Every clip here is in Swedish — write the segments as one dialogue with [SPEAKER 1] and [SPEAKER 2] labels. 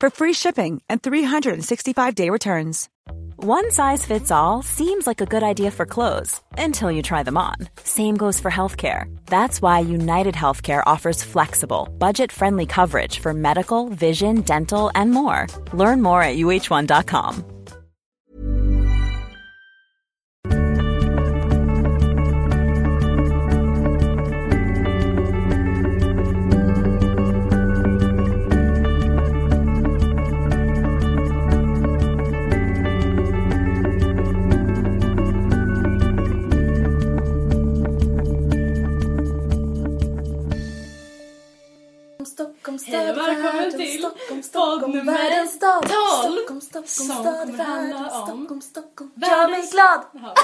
[SPEAKER 1] for free shipping and 365-day returns.
[SPEAKER 2] One size fits all seems like a good idea for clothes until you try them on. Same goes for healthcare. That's why United Healthcare offers flexible, budget-friendly coverage for medical, vision, dental, and more. Learn more at uh1.com.
[SPEAKER 3] Stockholm stad
[SPEAKER 4] Hej och välkommen till podd nummer tolv, som kommer handla om
[SPEAKER 3] Stockholm
[SPEAKER 4] världens-
[SPEAKER 3] glad!
[SPEAKER 4] Jaha.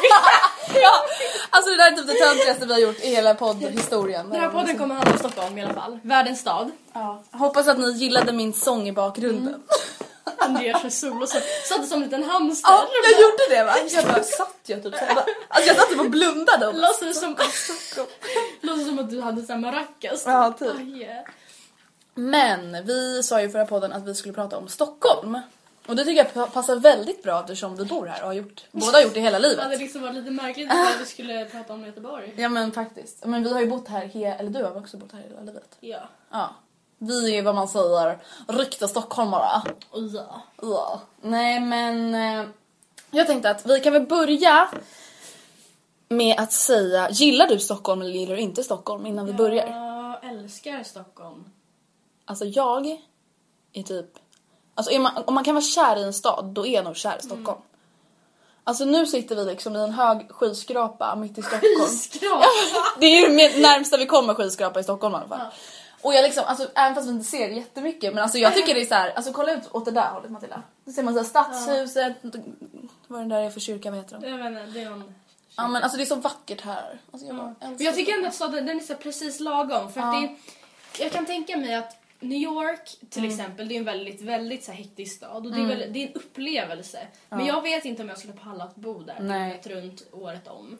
[SPEAKER 3] ja, alltså det där är typ det töntigaste vi har gjort i hela poddhistorien.
[SPEAKER 4] Den här podden kommer handla om Stockholm i alla fall. Världens stad.
[SPEAKER 3] Ja. Mm. Hoppas att ni gillade min sång i bakgrunden.
[SPEAKER 4] Andreas med sol och så satt det som en liten hamster.
[SPEAKER 3] Ja, jag gjorde det va? Jag bara satt jag typ såhär. Alltså jag satt typ och blundade. Och bara,
[SPEAKER 4] Låtsades som, låtsades som att du hade sån här maracas.
[SPEAKER 3] Ja, typ.
[SPEAKER 4] Ah, yeah.
[SPEAKER 3] Men vi sa ju i förra podden att vi skulle prata om Stockholm. Och det tycker jag pa- passar väldigt bra eftersom vi bor här och har gjort, båda har gjort det hela
[SPEAKER 4] Det
[SPEAKER 3] livet.
[SPEAKER 4] hade liksom varit lite märkligt att vi skulle prata om Göteborg.
[SPEAKER 3] Ja men faktiskt. Men vi har ju bott här, he- eller du har väl också bott här hela livet?
[SPEAKER 4] Ja.
[SPEAKER 3] Ja. Vi är vad man säger riktiga stockholmare.
[SPEAKER 4] Och ja.
[SPEAKER 3] Ja. Nej men eh, jag tänkte att vi kan väl börja med att säga gillar du Stockholm eller gillar du inte Stockholm innan vi börjar?
[SPEAKER 4] Jag älskar Stockholm.
[SPEAKER 3] Alltså jag är typ, alltså är man, om man kan vara kär i en stad då är jag nog kär i Stockholm. Alltså nu sitter vi liksom i en hög skyskrapa mitt i Stockholm.
[SPEAKER 4] Skyskrapa!
[SPEAKER 3] Det är ju med- närmsta vi kommer skyskrapa i Stockholm i alla fall. Och jag liksom, alltså, även fast vi inte ser jättemycket men alltså jag tycker det är så här, alltså kolla ut åt det där hållet Matilda. Då ser man så här stadshuset, vad den där är för kyrka, vad heter den?
[SPEAKER 4] Jag menar, det är en...
[SPEAKER 3] Ja men alltså det är så vackert här. Alltså, jag, bara
[SPEAKER 4] Men
[SPEAKER 3] älskar
[SPEAKER 4] jag tycker ändå att staden den är så här precis lagom för att det är, Jag kan tänka mig att New York till
[SPEAKER 3] Mm.
[SPEAKER 4] exempel, det är en väldigt, väldigt så här hektisk stad och det är, väl, det är en upplevelse. Men jag vet inte om jag skulle palla att bo där
[SPEAKER 3] Nej.
[SPEAKER 4] dygnet runt året om.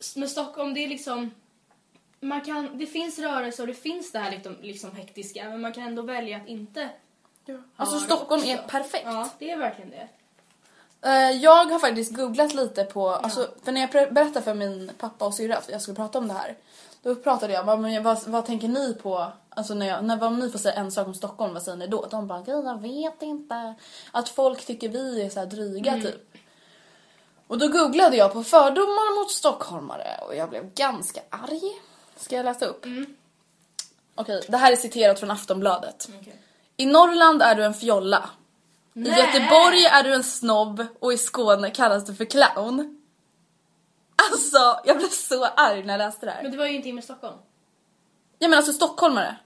[SPEAKER 4] S- Men Stockholm, det är liksom man kan, det finns rörelser och det finns det här liksom, liksom hektiska men man kan ändå välja att inte
[SPEAKER 3] det. Alltså
[SPEAKER 4] ha det
[SPEAKER 3] Stockholm är
[SPEAKER 4] också.
[SPEAKER 3] perfekt.
[SPEAKER 4] Ja, det är verkligen det.
[SPEAKER 3] Eh, Jag har faktiskt googlat lite på, alltså, för när jag pre- berättade för min pappa och syrra att jag skulle prata om det här. Då pratade jag bara, men jag- vad, vad tänker ni på, alltså när, jag, när vad, om ni får säga en sak om Stockholm, vad säger ni då? De bara, "Gud, jag vet inte. Att folk tycker vi är så här dryga typ. Och då googlade jag på fördomar mot stockholmare och jag blev ganska arg. Ska jag läsa upp? Okej, det här är citerat från Aftonbladet. I Norrland är du en fjolla. I Göteborg är du en snobb och i Skåne kallas du för clown. Alltså, jag blev så arg när jag läste det här.
[SPEAKER 4] Men det var ju ingenting med Stockholm.
[SPEAKER 3] Jag menar alltså stockholmare.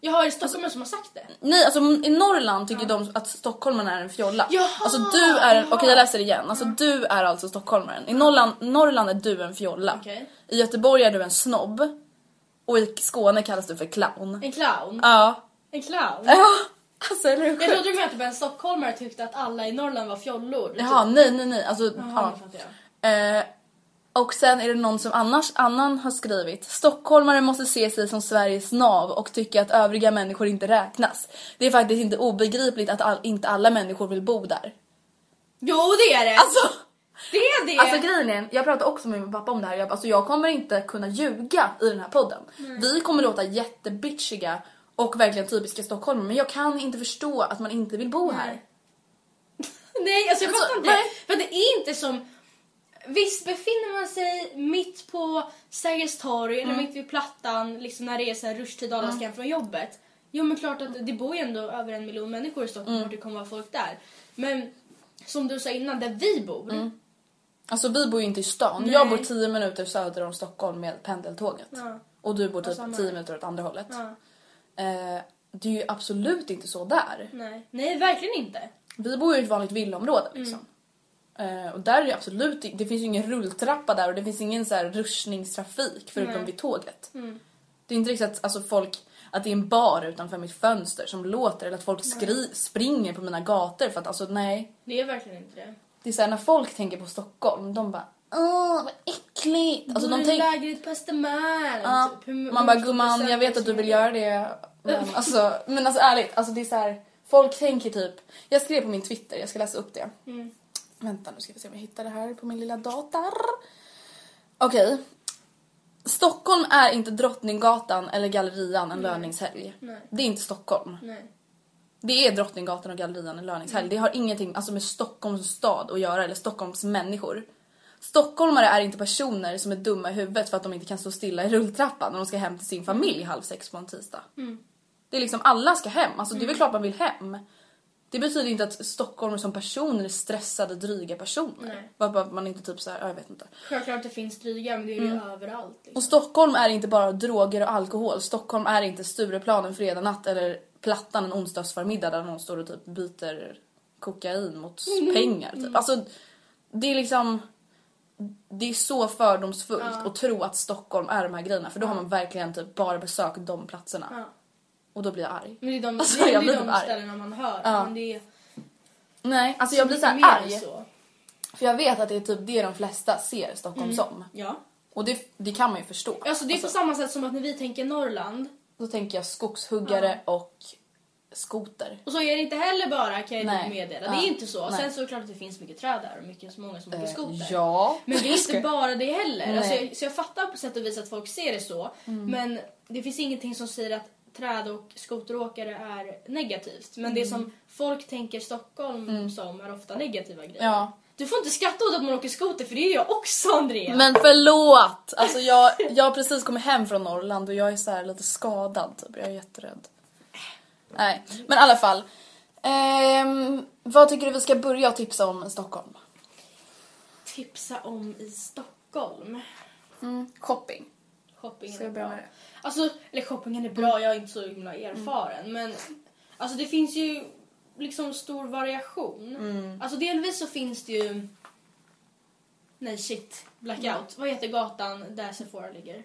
[SPEAKER 4] Jag har stockholmare som har sagt det.
[SPEAKER 3] Nej, alltså i Norrland tycker de att stockholmarna är en fjolla.
[SPEAKER 4] Jaha,
[SPEAKER 3] alltså du är en, okej
[SPEAKER 4] jaha.
[SPEAKER 3] jag läser det igen. Alltså du är alltså stockholmaren. I Norrland, Norrland är du en fjolla.
[SPEAKER 4] Okej.
[SPEAKER 3] I Göteborg är du en snobb. Och i Skåne kallas du för clown.
[SPEAKER 4] En clown.
[SPEAKER 3] Ja.
[SPEAKER 4] En clown.
[SPEAKER 3] Ja, alltså eller hur
[SPEAKER 4] Jag
[SPEAKER 3] sjukt?
[SPEAKER 4] trodde du menade att bara en stockholmare tyckte att alla i Norrland var fjollor. Typ,
[SPEAKER 3] Jaha, nej nej nej. Alltså,
[SPEAKER 4] Jaha, nu
[SPEAKER 3] ja.
[SPEAKER 4] fattar jag.
[SPEAKER 3] Eh, och sen är det någon som annars, annan har skrivit Stockholmare måste se sig som Sveriges nav och tycka att övriga människor inte räknas. Det är faktiskt inte obegripligt att all, inte alla människor vill bo där.
[SPEAKER 4] Jo det är det!
[SPEAKER 3] Alltså,
[SPEAKER 4] det är det!
[SPEAKER 3] alltså grejen är, jag pratade också med min pappa om det här, jag, bara, alltså, jag kommer inte kunna ljuga i den här podden.
[SPEAKER 4] Mm.
[SPEAKER 3] Vi kommer låta jättebitchiga och verkligen typiska stockholmare men jag kan inte förstå att man inte vill bo här.
[SPEAKER 4] Nej Alltså, jag
[SPEAKER 3] Alltså,
[SPEAKER 4] fattar inte.
[SPEAKER 3] nej.
[SPEAKER 4] För det är inte som... Visst befinner man sig mitt på Sergels torg eller
[SPEAKER 3] Mm.
[SPEAKER 4] mitt vid Plattan liksom när det är så här rushtid och alla ska hem från jobbet. Jo men klart att det bor ju ändå över en miljon människor i Stockholm
[SPEAKER 3] Mm.
[SPEAKER 4] och det kommer vara folk där. Men som du sa innan, där vi bor.
[SPEAKER 3] Alltså vi bor ju inte i stan.
[SPEAKER 4] Nej.
[SPEAKER 3] Jag bor 10 minuter söder om Stockholm med pendeltåget.
[SPEAKER 4] Ja.
[SPEAKER 3] Och du bor typ
[SPEAKER 4] samma
[SPEAKER 3] 10
[SPEAKER 4] här.
[SPEAKER 3] minuter åt andra hållet.
[SPEAKER 4] Ja.
[SPEAKER 3] Eh, det är ju absolut inte så där.
[SPEAKER 4] Nej. Nej, verkligen inte.
[SPEAKER 3] Vi bor ju i ett vanligt villaområde
[SPEAKER 4] Mm.
[SPEAKER 3] liksom. Eh, och där är det absolut det finns ju ingen rulltrappa där och det finns ingen så här ruschningstrafik förutom vid tåget.
[SPEAKER 4] Mm.
[SPEAKER 3] Det är inte riktigt att alltså, folk att det är en bar utanför mitt fönster som låter eller att folk skri- springer på mina gator för att alltså nej.
[SPEAKER 4] Det är verkligen inte det.
[SPEAKER 3] Det är såhär när folk tänker på Stockholm, de bara åh vad äckligt. Alltså,
[SPEAKER 4] bor
[SPEAKER 3] de
[SPEAKER 4] i
[SPEAKER 3] tänk-
[SPEAKER 4] lägret på Östermalm.
[SPEAKER 3] Ja,
[SPEAKER 4] typ. Hur-
[SPEAKER 3] man
[SPEAKER 4] hur
[SPEAKER 3] bara
[SPEAKER 4] mycket
[SPEAKER 3] gumman jag vet att du vill göra det. Men alltså, men alltså ärligt, alltså det är så här, folk tänker typ, jag skrev på min Twitter, jag ska läsa upp det.
[SPEAKER 4] Mm.
[SPEAKER 3] Vänta nu ska vi se om jag hittar det här på min lilla dator. Okej. Stockholm är inte Drottninggatan eller Gallerian en löningshelg. Det är inte Stockholm.
[SPEAKER 4] Nej.
[SPEAKER 3] Det är Drottninggatan och Gallerian en löningshelg. Det har ingenting alltså, med Stockholms stad att göra eller Stockholms människor. Stockholmare är inte personer som är dumma i huvudet för att de inte kan stå stilla i rulltrappan när de ska hem till sin familj halv sex på en tisdag. Det är liksom alla ska hem, alltså det är väl klart man vill hem. Det betyder inte att stockholmare som personer är stressade, dryga personer. Bara för att man inte typ så här, ja, jag vet inte.
[SPEAKER 4] Självklart det finns dryga men det är ju överallt. Liksom.
[SPEAKER 3] Mm. Och Stockholm är inte bara droger och alkohol. Stockholm är inte Stureplan en fredag natt eller Plattan en onsdagsförmiddag där någon står och typ byter kokain mot pengar. Typ. Alltså, det är liksom... Det är så fördomsfullt att tro att Stockholm är de här grejerna för då har man verkligen typ bara besökt de platserna. Och då blir jag arg.
[SPEAKER 4] Men det är de,
[SPEAKER 3] Alltså,
[SPEAKER 4] det är
[SPEAKER 3] jag
[SPEAKER 4] det
[SPEAKER 3] blir
[SPEAKER 4] är de
[SPEAKER 3] typ arg.
[SPEAKER 4] ställena man hör.
[SPEAKER 3] Ja.
[SPEAKER 4] Men det är
[SPEAKER 3] Nej, alltså jag blir så
[SPEAKER 4] lite
[SPEAKER 3] här
[SPEAKER 4] mer
[SPEAKER 3] arg.
[SPEAKER 4] så.
[SPEAKER 3] För jag vet att det är typ det de flesta ser Stockholm som.
[SPEAKER 4] Ja.
[SPEAKER 3] Och det, det kan man ju förstå.
[SPEAKER 4] Alltså det är på samma sätt som att när vi tänker Norrland
[SPEAKER 3] Då tänker jag skogshuggare och skoter.
[SPEAKER 4] och så är det inte heller bara kan jag
[SPEAKER 3] Nej.
[SPEAKER 4] meddela.
[SPEAKER 3] Ja.
[SPEAKER 4] Det är inte så.
[SPEAKER 3] Nej.
[SPEAKER 4] Sen så är det klart att det finns mycket träd där och mycket, många som åker
[SPEAKER 3] Eh,
[SPEAKER 4] skoter.
[SPEAKER 3] ja.
[SPEAKER 4] Men det är inte
[SPEAKER 3] Ska-
[SPEAKER 4] bara det heller.
[SPEAKER 3] Nej. Mm.
[SPEAKER 4] Alltså jag, så jag fattar på sätt och vis att folk ser det så. Men det finns ingenting som säger att träd och skoteråkare är negativt. Men
[SPEAKER 3] Mm.
[SPEAKER 4] det som folk tänker Stockholm som är ofta negativa grejer.
[SPEAKER 3] Ja.
[SPEAKER 4] Du får inte skratta åt att man åker skoter för det är jag också Andrea.
[SPEAKER 3] Men förlåt! Alltså jag, jag har precis kommit hem från Norrland och jag är så här lite skadad typ. Jag är jätterädd. Nej, men i alla fall. Ehm, vad tycker du vi ska börja tipsa om i Stockholm?
[SPEAKER 4] tipsa om i Stockholm.
[SPEAKER 3] Shopping.
[SPEAKER 4] Shoppingen
[SPEAKER 3] Ska
[SPEAKER 4] är
[SPEAKER 3] jag börja
[SPEAKER 4] bra.
[SPEAKER 3] med det? Mm.
[SPEAKER 4] Alltså, eller shoppingen är bra, jag är inte så himla erfaren. Men alltså det finns ju liksom stor variation.
[SPEAKER 3] Mm.
[SPEAKER 4] Alltså delvis så finns det ju... Nej shit, blackout.
[SPEAKER 3] Mm.
[SPEAKER 4] Vad heter gatan där Sephora ligger?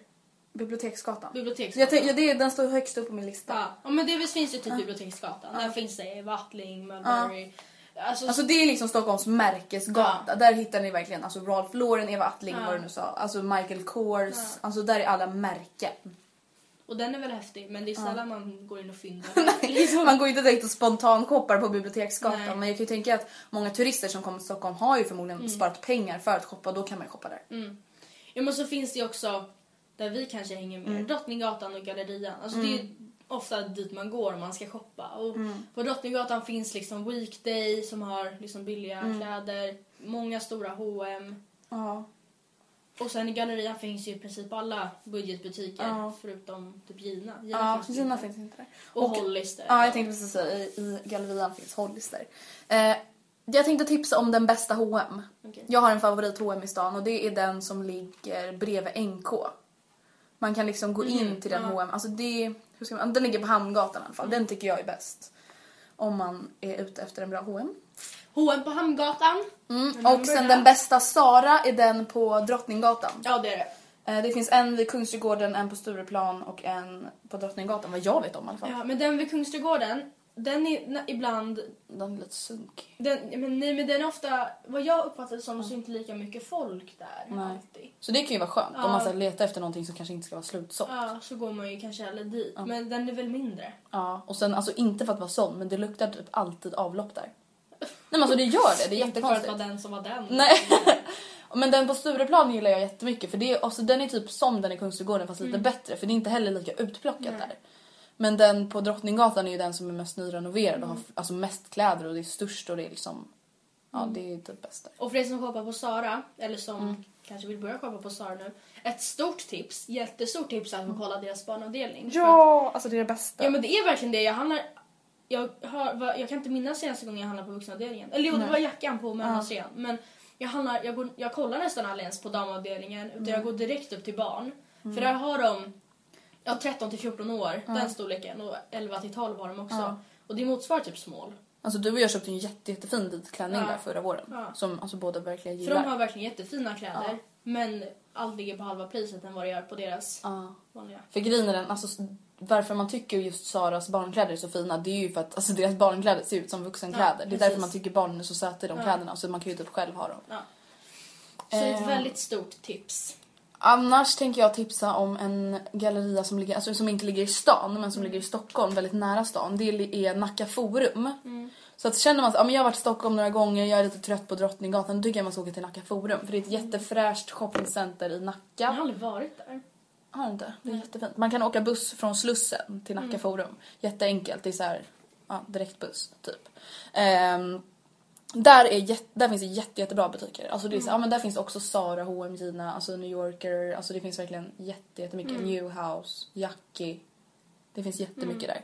[SPEAKER 3] Biblioteksgatan.
[SPEAKER 4] Biblioteksgatan.
[SPEAKER 3] Jag tänker, det, den står högst upp på min lista.
[SPEAKER 4] Ja, ja, men delvis finns det typ Biblioteksgatan. Där finns det Wattling, Mulberry. Alltså,
[SPEAKER 3] Alltså det är liksom Stockholms märkesgata. Där hittar ni verkligen alltså Ralph Lauren, Eva Attling, vad du nu sa. Alltså Michael Kors. Alltså där är alla märken.
[SPEAKER 4] och den är väl häftig men det är sällan man går in och liksom. fyndar.
[SPEAKER 3] Man går ju inte direkt och spontankoppar på Biblioteksgatan
[SPEAKER 4] Nej. Mm.
[SPEAKER 3] men jag kan ju tänka att många turister som kommer till Stockholm har ju förmodligen sparat pengar för att shoppa och då kan man ju shoppa där.
[SPEAKER 4] Ja men så finns det ju också där vi kanske hänger mer,
[SPEAKER 3] Mm.
[SPEAKER 4] Drottninggatan och Gallerian. Alltså det är ju ofta dit man går om man ska shoppa. Och
[SPEAKER 3] Mm.
[SPEAKER 4] På Drottninggatan finns liksom Weekday som har liksom billiga
[SPEAKER 3] Mm.
[SPEAKER 4] kläder, många stora H&M.
[SPEAKER 3] Ja.
[SPEAKER 4] Och sen i Gallerian finns ju i princip alla budgetbutiker förutom typ Gina. Gina
[SPEAKER 3] Ja,
[SPEAKER 4] finns det
[SPEAKER 3] Gina
[SPEAKER 4] inte.
[SPEAKER 3] finns inte där.
[SPEAKER 4] Och Hollister.
[SPEAKER 3] Ja, jag tänkte precis säga i, i gallerian finns Hollister. Eh, jag tänkte tipsa om den bästa H&M.
[SPEAKER 4] Okej.
[SPEAKER 3] Jag har en favorit H&M i stan och det är den som ligger bredvid NK. Man kan liksom gå
[SPEAKER 4] Mm,
[SPEAKER 3] in till den H&M. Alltså det, hur ska man, den ligger på Hamngatan i alla fall. Den tycker jag är bäst. Om man är ute efter en bra H&M.
[SPEAKER 4] H&M på Hamngatan.
[SPEAKER 3] Mm, och sen den bästa Sara är den på Drottninggatan.
[SPEAKER 4] Ja det är det.
[SPEAKER 3] Eh, Det finns en vid Kungsträdgården, en på Stureplan och en på Drottninggatan, vad jag vet om i alla fall.
[SPEAKER 4] Ja, men den vid Kungsträdgården, den är na- ibland
[SPEAKER 3] Den är lite sunkig.
[SPEAKER 4] Den, men, nej men den är ofta, vad jag uppfattade som, så är inte lika mycket folk där alltid.
[SPEAKER 3] Så det kan ju vara skönt om man ska leta efter någonting som kanske inte ska vara slutsålt. Ja.
[SPEAKER 4] Ja, så går man ju kanske hellre dit. Men den är väl mindre.
[SPEAKER 3] Och sen alltså inte för att vara sån men det luktar typ alltid avlopp där. Nej men alltså det gör det, det är
[SPEAKER 4] För att vara
[SPEAKER 3] jättekonstigt.
[SPEAKER 4] den som var den.
[SPEAKER 3] Nej. Men den på Stureplan gillar jag jättemycket för det är, alltså, den är typ som den i Kungsträdgården fast lite bättre för det är inte heller lika utplockat där. Men den Mm. på Drottninggatan är ju den som är mest nyrenoverad och har f- alltså mest kläder och det är störst och det är liksom Ja, det är typ bäst där.
[SPEAKER 4] Och för er som shoppar på Sara, eller som
[SPEAKER 3] Mm.
[SPEAKER 4] kanske vill börja shoppa på Sara nu. Ett stort tips, jättestort tips är att
[SPEAKER 3] Mm.
[SPEAKER 4] kolla deras barnavdelning. För att-
[SPEAKER 3] Ja, alltså det är det bästa.
[SPEAKER 4] ja men det är verkligen det. Jag handlar... Jag, har, va- jag kan inte minnas senaste gången jag handlade på vuxenavdelningen. Eller jo, det var jackan på mellanserien. Men jag, handlar, jag, går, jag kollar nästan aldrig ens på damavdelningen. Utan
[SPEAKER 3] Mm.
[SPEAKER 4] jag går direkt upp till barn. För där har de ja, 13 till 14 år, den storleken. Och 11 till 12 har de också. Och det motsvarar typ small.
[SPEAKER 3] Alltså du och jag köpte en jätte, jättefin vit klänning
[SPEAKER 4] Ja.
[SPEAKER 3] där förra våren.
[SPEAKER 4] Ja.
[SPEAKER 3] Som alltså båda verkligen
[SPEAKER 4] För de
[SPEAKER 3] gillar.
[SPEAKER 4] har verkligen jättefina kläder. Men allt ligger på halva priset än vad det gör på deras
[SPEAKER 3] Ja.
[SPEAKER 4] vanliga.
[SPEAKER 3] För grejen är den, alltså s- varför man tycker just Saras barnkläder är så fina det är ju för att alltså, deras barnkläder ser ut som vuxenkläder. det är
[SPEAKER 4] precis.
[SPEAKER 3] därför man tycker barnen är så söta i de kläderna så man kan ju typ själv ha dem.
[SPEAKER 4] Ja. Så ett
[SPEAKER 3] Eh.
[SPEAKER 4] väldigt stort tips.
[SPEAKER 3] Annars tänker jag tipsa om en galleria som, ligger, alltså, som inte ligger i stan men som
[SPEAKER 4] Mm.
[SPEAKER 3] ligger i Stockholm, väldigt nära stan. Det är Nacka Forum.
[SPEAKER 4] Mm.
[SPEAKER 3] Så att känner man att ja, men jag har varit i Stockholm några gånger, jag är lite trött på Drottninggatan, då tycker jag man ska åka till Nacka Forum. För det är ett jättefräscht shoppingcenter i Nacka.
[SPEAKER 4] Jag har aldrig varit där.
[SPEAKER 3] Har du inte? Det är jättefint. Man kan åka buss från Slussen till Nacka Forum. Jätteenkelt. Det är så här, ja, direktbuss typ. Ehm, där, är jätte, där finns det jätte, jättebra butiker. Alltså det är så, ja, men där finns också Zara, H&M, Gina, alltså New Yorker. Alltså det finns verkligen jätte, jättemycket. Newhouse, Jackie. Det finns jättemycket där.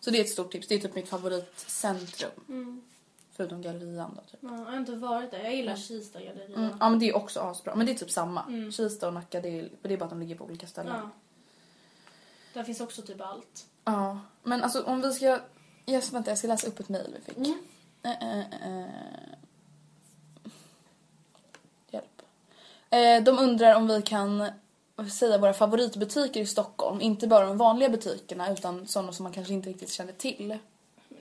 [SPEAKER 3] Så det är ett stort tips. Det är typ mitt favoritcentrum. Förutom gallerian då typ.
[SPEAKER 4] Ja, jag har inte varit där. Jag gillar Kista galleria.
[SPEAKER 3] Mm, ja men det är också asbra. Men det är typ samma. Kista och Nacka det är, det är bara att de ligger på olika ställen.
[SPEAKER 4] Ja. Där finns också typ allt.
[SPEAKER 3] Ja, men alltså om vi ska... Yes, vänta, jag ska läsa upp ett mejl vi fick.
[SPEAKER 4] Mm.
[SPEAKER 3] Eh, eh, eh. Hjälp. Eh, de undrar om vi kan säga våra favoritbutiker i Stockholm. Inte bara de vanliga butikerna utan sådana som man kanske inte riktigt känner till.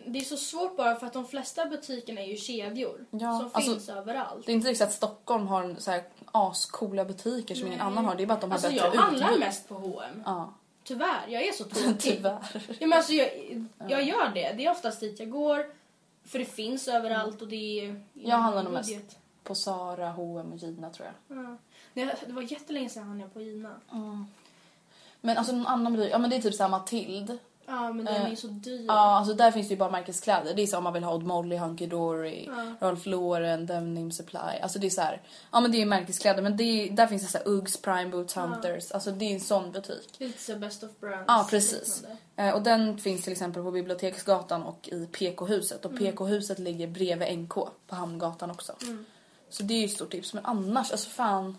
[SPEAKER 4] Det är så svårt bara för att de flesta butikerna är ju kedjor
[SPEAKER 3] Ja,
[SPEAKER 4] som
[SPEAKER 3] alltså,
[SPEAKER 4] finns överallt.
[SPEAKER 3] Det är inte riktigt så att Stockholm har så här ascoola butiker som ingen annan har. Det är bara att de har
[SPEAKER 4] Alltså
[SPEAKER 3] bättre
[SPEAKER 4] jag handlar
[SPEAKER 3] utbud.
[SPEAKER 4] mest på H&M.
[SPEAKER 3] Ja,
[SPEAKER 4] Tyvärr, jag är så tråkig.
[SPEAKER 3] tyvärr.
[SPEAKER 4] Ja, men alltså, jag, jag gör det. Det är oftast dit jag går. För det finns överallt och det är...
[SPEAKER 3] Jag handlar nog
[SPEAKER 4] budget.
[SPEAKER 3] mest på Zara, H&M och Gina tror jag.
[SPEAKER 4] Ja. Nej, Det var jättelänge sedan jag handlade på Gina.
[SPEAKER 3] Mm. Men alltså någon annan butik, ja men det är typ såhär Matilde.
[SPEAKER 4] Ja, men den är ju så dyr.
[SPEAKER 3] Eh, Ja, alltså där finns det ju bara märkeskläder. Det är så om man vill ha Odd Molly, Hunky Dory, Ralph Lauren, Denim Supply. Alltså det är så här, ja men det är ju märkeskläder men det är, där finns det så här Uggs, Prime Boots, Hunters. Alltså det är en sån butik.
[SPEAKER 4] Lite så best of brands.
[SPEAKER 3] Ja, precis.
[SPEAKER 4] liknande.
[SPEAKER 3] Eh, Och den finns till exempel på Biblioteksgatan och i PK-huset.
[SPEAKER 4] Mm.
[SPEAKER 3] Och PK-huset ligger bredvid NK på Hamngatan också. Så det är ju ett stort tips. Men annars, alltså fan.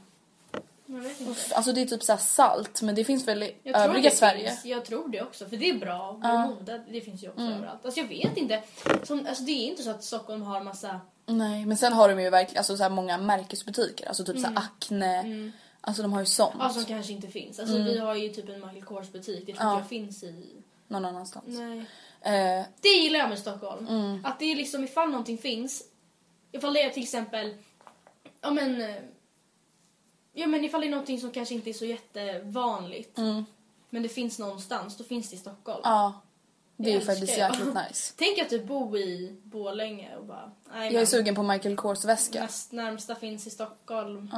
[SPEAKER 4] Jag vet inte.
[SPEAKER 3] Uff, alltså det är typ så här salt men det finns väl i
[SPEAKER 4] Jag tror
[SPEAKER 3] övriga
[SPEAKER 4] det
[SPEAKER 3] Sverige?
[SPEAKER 4] Finns, jag tror det också, för det är bra. Det är mode, det finns ju också
[SPEAKER 3] Mm.
[SPEAKER 4] överallt. Alltså jag vet inte. Som, alltså det är inte så att Stockholm har massa...
[SPEAKER 3] Nej, men sen har de ju verkligen alltså, så här många märkesbutiker. Alltså typ så här Acne. Alltså de har ju sånt.
[SPEAKER 4] Ja, som kanske inte finns. Mm. Alltså
[SPEAKER 3] Mm.
[SPEAKER 4] vi har ju typ en Michael Kors butik. Det tror inte jag finns i...
[SPEAKER 3] Någon annanstans.
[SPEAKER 4] Nej.
[SPEAKER 3] Eh,
[SPEAKER 4] Det gillar jag med Stockholm.
[SPEAKER 3] Mm.
[SPEAKER 4] Att det är liksom ifall någonting finns. Ifall det är till exempel... Ja men... eh, Ja men ifall det är någonting som kanske inte är så jättevanligt. Men det finns någonstans, då finns det i Stockholm.
[SPEAKER 3] Mm. ja. Det är ju
[SPEAKER 4] Jag
[SPEAKER 3] faktiskt
[SPEAKER 4] älskar det.
[SPEAKER 3] jäkligt nice.
[SPEAKER 4] Tänk att du bor i Borlänge och bara... nej,
[SPEAKER 3] Jag är
[SPEAKER 4] men-
[SPEAKER 3] sugen på Michael Kors väska.
[SPEAKER 4] Näst, närmsta finns i Stockholm.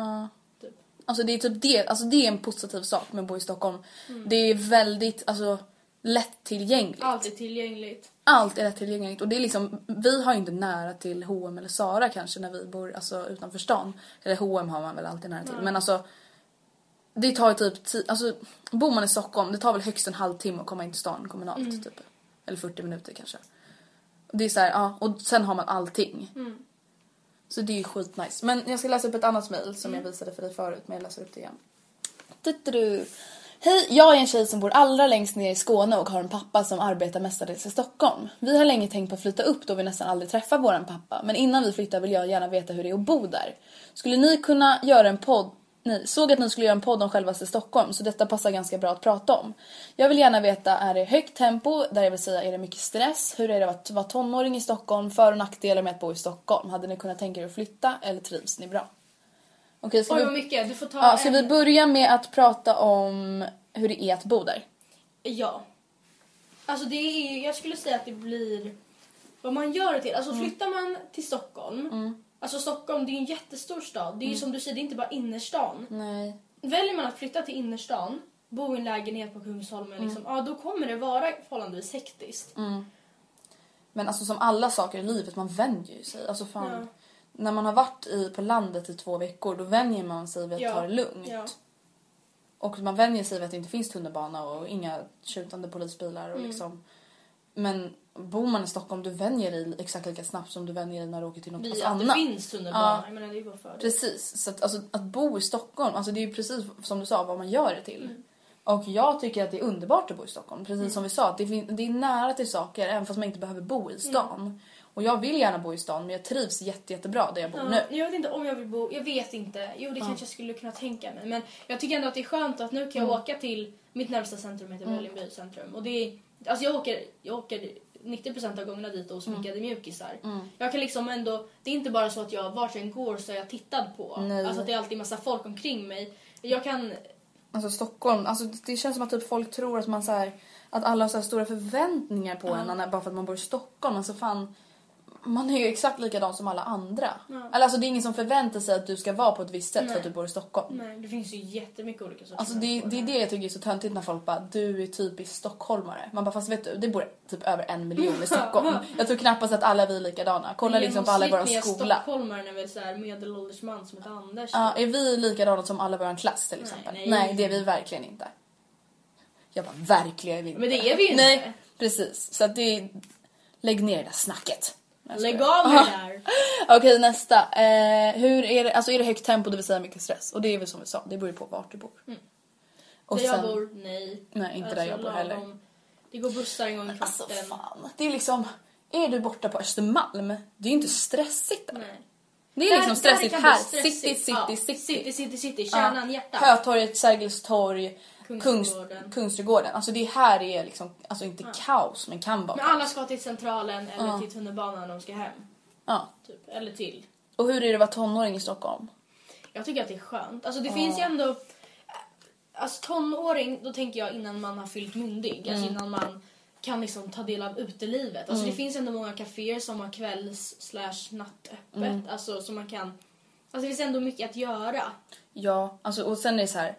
[SPEAKER 4] Typ.
[SPEAKER 3] Alltså det är typ det, alltså det är en positiv sak med att bo i Stockholm.
[SPEAKER 4] Mm.
[SPEAKER 3] Det är väldigt alltså lättillgängligt.
[SPEAKER 4] Allt är tillgängligt.
[SPEAKER 3] Allt är lättillgängligt och det är liksom, vi har ju inte nära till H&M eller Sara kanske när vi bor alltså, utanför stan. Eller H&M har man väl alltid nära till men alltså det tar ju typ ti- alltså bor man i Stockholm det tar väl högst en halvtimme att komma in till stan kommunalt typ. Eller 40 minuter kanske. Det är så här, ja och sen har man allting. Så det är ju skitnice. Men jag ska läsa upp ett annat mejl som jag visade för dig förut men jag läser upp det igen. Du-du-du. Hej, jag är en tjej som bor allra längst ner i Skåne och har en pappa som arbetar mestadels i Stockholm. Vi har länge tänkt på att flytta upp då vi nästan aldrig träffar våran pappa, men innan vi flyttar vill jag gärna veta hur det är att bo där. Skulle ni kunna göra en podd ni såg att ni skulle göra en podd om självaste Stockholm så detta passar ganska bra att prata om. Jag vill gärna veta, är det högt tempo? Där jag vill säga, är det mycket stress? Hur är det att vara tonåring i Stockholm? För och nackdelar med att bo i Stockholm? Hade ni kunnat tänka er att flytta eller trivs ni bra? Okej, ska
[SPEAKER 4] Oj
[SPEAKER 3] vi-
[SPEAKER 4] vad mycket, du får ta
[SPEAKER 3] Ja, ska
[SPEAKER 4] en.
[SPEAKER 3] vi börja med att prata om hur det är att bo där?
[SPEAKER 4] Ja. Alltså det är jag skulle säga att det blir vad man gör det till. Alltså
[SPEAKER 3] Mm.
[SPEAKER 4] flyttar man till Stockholm. Alltså Stockholm det är ju en jättestor stad.
[SPEAKER 3] Mm.
[SPEAKER 4] Det är ju som du säger, det är inte bara innerstan.
[SPEAKER 3] Nej.
[SPEAKER 4] Väljer man att flytta till innerstan, bo i en lägenhet på Kungsholmen
[SPEAKER 3] Mm.
[SPEAKER 4] liksom, ja då kommer det vara förhållandevis hektiskt.
[SPEAKER 3] Men alltså som alla saker i livet, man vänjer ju sig. Alltså fan.
[SPEAKER 4] Ja.
[SPEAKER 3] när man har varit i, på landet i två veckor då vänjer man sig vid att
[SPEAKER 4] Ja.
[SPEAKER 3] ta det lugnt.
[SPEAKER 4] Ja.
[SPEAKER 3] Och man vänjer sig vid att det inte finns tunnelbana och inga tjutande polisbilar. Och liksom. Men bor man i Stockholm, du vänjer dig exakt lika snabbt som du vänjer dig när du åker till något
[SPEAKER 4] Vi,
[SPEAKER 3] alltså
[SPEAKER 4] att det
[SPEAKER 3] annat.
[SPEAKER 4] finns tunnelbana. Jag menar, det är ju bara fördel.
[SPEAKER 3] Precis. Så att, alltså, att bo i Stockholm, alltså, det är ju precis som du sa vad man gör det till.
[SPEAKER 4] Mm.
[SPEAKER 3] Och jag tycker att det är underbart att bo i Stockholm. Precis som vi sa, att det, fin- det är nära till saker även fast man inte behöver bo
[SPEAKER 4] Mm.
[SPEAKER 3] i stan. Och jag vill gärna bo i stan men jag trivs jätte, jättebra där jag bor
[SPEAKER 4] Ja,
[SPEAKER 3] nu.
[SPEAKER 4] Jag vet inte om jag vill bo, jag vet inte. Jo det kanske jag skulle kunna tänka mig. Men jag tycker ändå att det är skönt att nu kan jag
[SPEAKER 3] Mm.
[SPEAKER 4] åka till mitt närmsta centrum heter Vällingby centrum. Och det är, alltså jag åker, jag åker 90% av gångerna dit och sminkade
[SPEAKER 3] Mm.
[SPEAKER 4] mjukisar. Jag kan liksom ändå, det är inte bara så att jag vart jag än går så är jag tittad på.
[SPEAKER 3] Nej.
[SPEAKER 4] Alltså att det är alltid massa folk omkring mig. Jag kan
[SPEAKER 3] Alltså Stockholm, alltså det- det känns som att typ folk tror att man så här, att alla har så här stora förväntningar på en när- bara för att man bor i Stockholm. Alltså fan, man är ju exakt likadan som alla andra. Eller alltså det är ingen som förväntar sig att du ska vara på ett visst sätt för att du bor i Stockholm.
[SPEAKER 4] Nej, det finns ju jättemycket olika sorters
[SPEAKER 3] Alltså det,
[SPEAKER 4] människor.
[SPEAKER 3] det är det jag tycker är så töntigt när folk bara du är typisk stockholmare. Man bara fast vet du det bor typ över en miljon i Stockholm. Jag tror knappast att alla vi är likadana. Kolla liksom på alla i vår
[SPEAKER 4] Genomsnittliga
[SPEAKER 3] skola.
[SPEAKER 4] stockholmare är väl såhär medelålders man som heter Anders.
[SPEAKER 3] Ja, är vi likadana som alla i vår klass till exempel? Nej,
[SPEAKER 4] nej.
[SPEAKER 3] det är vi verkligen inte. Jag bara verkligen är vi inte.
[SPEAKER 4] Men det är vi ju inte.
[SPEAKER 3] Nej precis så att det är... lägg ner det där snacket. Nej, jag
[SPEAKER 4] Lägg
[SPEAKER 3] skojar.
[SPEAKER 4] av med det där!
[SPEAKER 3] Okej nästa. Eh, hur är det, alltså är det högt tempo det vill säga mycket stress? Och det är väl som vi sa det beror ju på vart du bor. Och
[SPEAKER 4] Mm. där
[SPEAKER 3] sen,
[SPEAKER 4] jag bor, nej. Alltså,
[SPEAKER 3] Nej, inte där jag bor
[SPEAKER 4] lagom.
[SPEAKER 3] heller.
[SPEAKER 4] Det går bussar en gång i
[SPEAKER 3] Alltså
[SPEAKER 4] kvarten.
[SPEAKER 3] fan, det är liksom... Är du borta på Östermalm, det är ju inte stressigt där.
[SPEAKER 4] Nej.
[SPEAKER 3] Det är
[SPEAKER 4] Där- där
[SPEAKER 3] liksom stressigt
[SPEAKER 4] kan
[SPEAKER 3] här.
[SPEAKER 4] bli stressigt.
[SPEAKER 3] City, city,
[SPEAKER 4] Ja,
[SPEAKER 3] city.
[SPEAKER 4] City, city, city. Kärnan,
[SPEAKER 3] Ja.
[SPEAKER 4] hjärtat.
[SPEAKER 3] Hötorget, Sergels torg, Kungs,
[SPEAKER 4] Kungsträdgården.
[SPEAKER 3] Kungsträdgården. Alltså det här är liksom, alltså inte kaos men kan vara
[SPEAKER 4] Men
[SPEAKER 3] kaos.
[SPEAKER 4] alla ska till centralen eller till tunnelbanan när de ska hem.
[SPEAKER 3] Ja.
[SPEAKER 4] Typ. Eller till.
[SPEAKER 3] Och hur är det att vara tonåring i Stockholm?
[SPEAKER 4] Jag tycker att det är skönt. Alltså det finns ju ändå... Alltså tonåring, då tänker jag innan man har fyllt myndig.
[SPEAKER 3] Mm.
[SPEAKER 4] Alltså innan man kan liksom ta del av utelivet. Alltså det finns ändå många kaféer som har kvälls slash nattöppet.
[SPEAKER 3] Mm.
[SPEAKER 4] Alltså som man kan... Alltså det finns ändå mycket att göra.
[SPEAKER 3] Ja, alltså, och sen är det så här.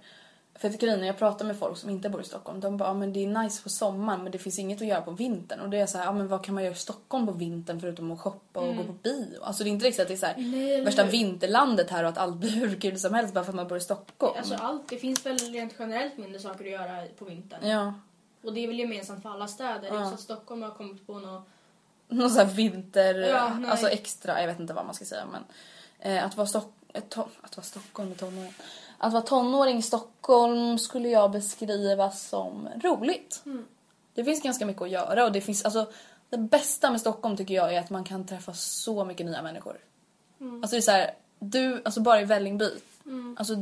[SPEAKER 3] För att grejen är, när jag pratar med folk som inte bor i Stockholm, de bara ah, men det är nice på sommaren men det finns inget att göra på vintern. Och det är så här, ah, men vad kan man göra i Stockholm på vintern förutom att shoppa och gå på bio? Alltså det är inte riktigt att det är så här, värsta vinterlandet här och att allt blir hur kul som helst bara för att man bor i Stockholm.
[SPEAKER 4] Alltså allt, det finns väl rent generellt mindre saker att göra på vintern.
[SPEAKER 3] Ja,
[SPEAKER 4] Och det är väl gemensamt för alla städer. Det är inte så att Stockholm har kommit på något...
[SPEAKER 3] någon så här vinter,
[SPEAKER 4] Ja, nej.
[SPEAKER 3] alltså extra, jag vet inte vad man ska säga men. Eh, att, vara Stock- eh, to- att vara Stockholm i tonåring. Att vara tonåring i Stockholm skulle jag beskriva som roligt.
[SPEAKER 4] Mm.
[SPEAKER 3] Det finns ganska mycket att göra och det finns, alltså det bästa med Stockholm tycker jag är att man kan träffa så mycket nya människor. Alltså det är så här, du, alltså bara i Vällingby.
[SPEAKER 4] Mm.
[SPEAKER 3] Alltså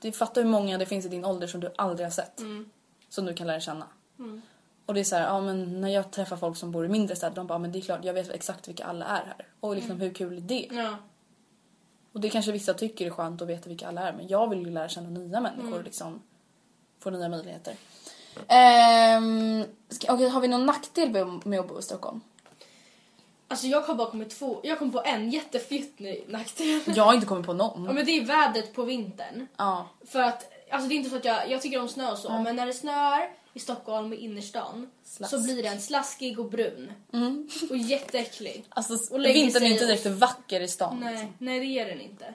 [SPEAKER 3] du fattar hur många det finns i din ålder som du aldrig har sett.
[SPEAKER 4] Mm.
[SPEAKER 3] Som du kan lära känna. Och det är så här, ja men när jag träffar folk som bor i mindre städer, de bara, men det är klart, jag vet exakt vilka alla är här. Och liksom hur kul är det?
[SPEAKER 4] Mm. Ja.
[SPEAKER 3] Och det kanske vissa tycker är skönt att veta vilka alla är, men jag vill ju lära känna nya människor
[SPEAKER 4] Mm.
[SPEAKER 3] och liksom få nya möjligheter. Ehm, ska, okej, har vi någon nackdel med- med att bo i Stockholm?
[SPEAKER 4] Alltså jag har bara kommit två... Jag kom på en jättefjutt nu- nackdel.
[SPEAKER 3] Jag har inte kommit på någon.
[SPEAKER 4] Ja men det är vädret på vintern.
[SPEAKER 3] Ja.
[SPEAKER 4] För att, alltså det är inte så att jag, jag tycker om snö och så, men när det snöar i Stockholm i innerstan så
[SPEAKER 3] Slask. Mm.
[SPEAKER 4] blir den slaskig och brun. Och jätteäcklig.
[SPEAKER 3] Alltså
[SPEAKER 4] Och lägger
[SPEAKER 3] vintern är
[SPEAKER 4] sig
[SPEAKER 3] inte
[SPEAKER 4] och-
[SPEAKER 3] direkt vacker i stan.
[SPEAKER 4] Nej,
[SPEAKER 3] liksom.
[SPEAKER 4] nej det är den inte.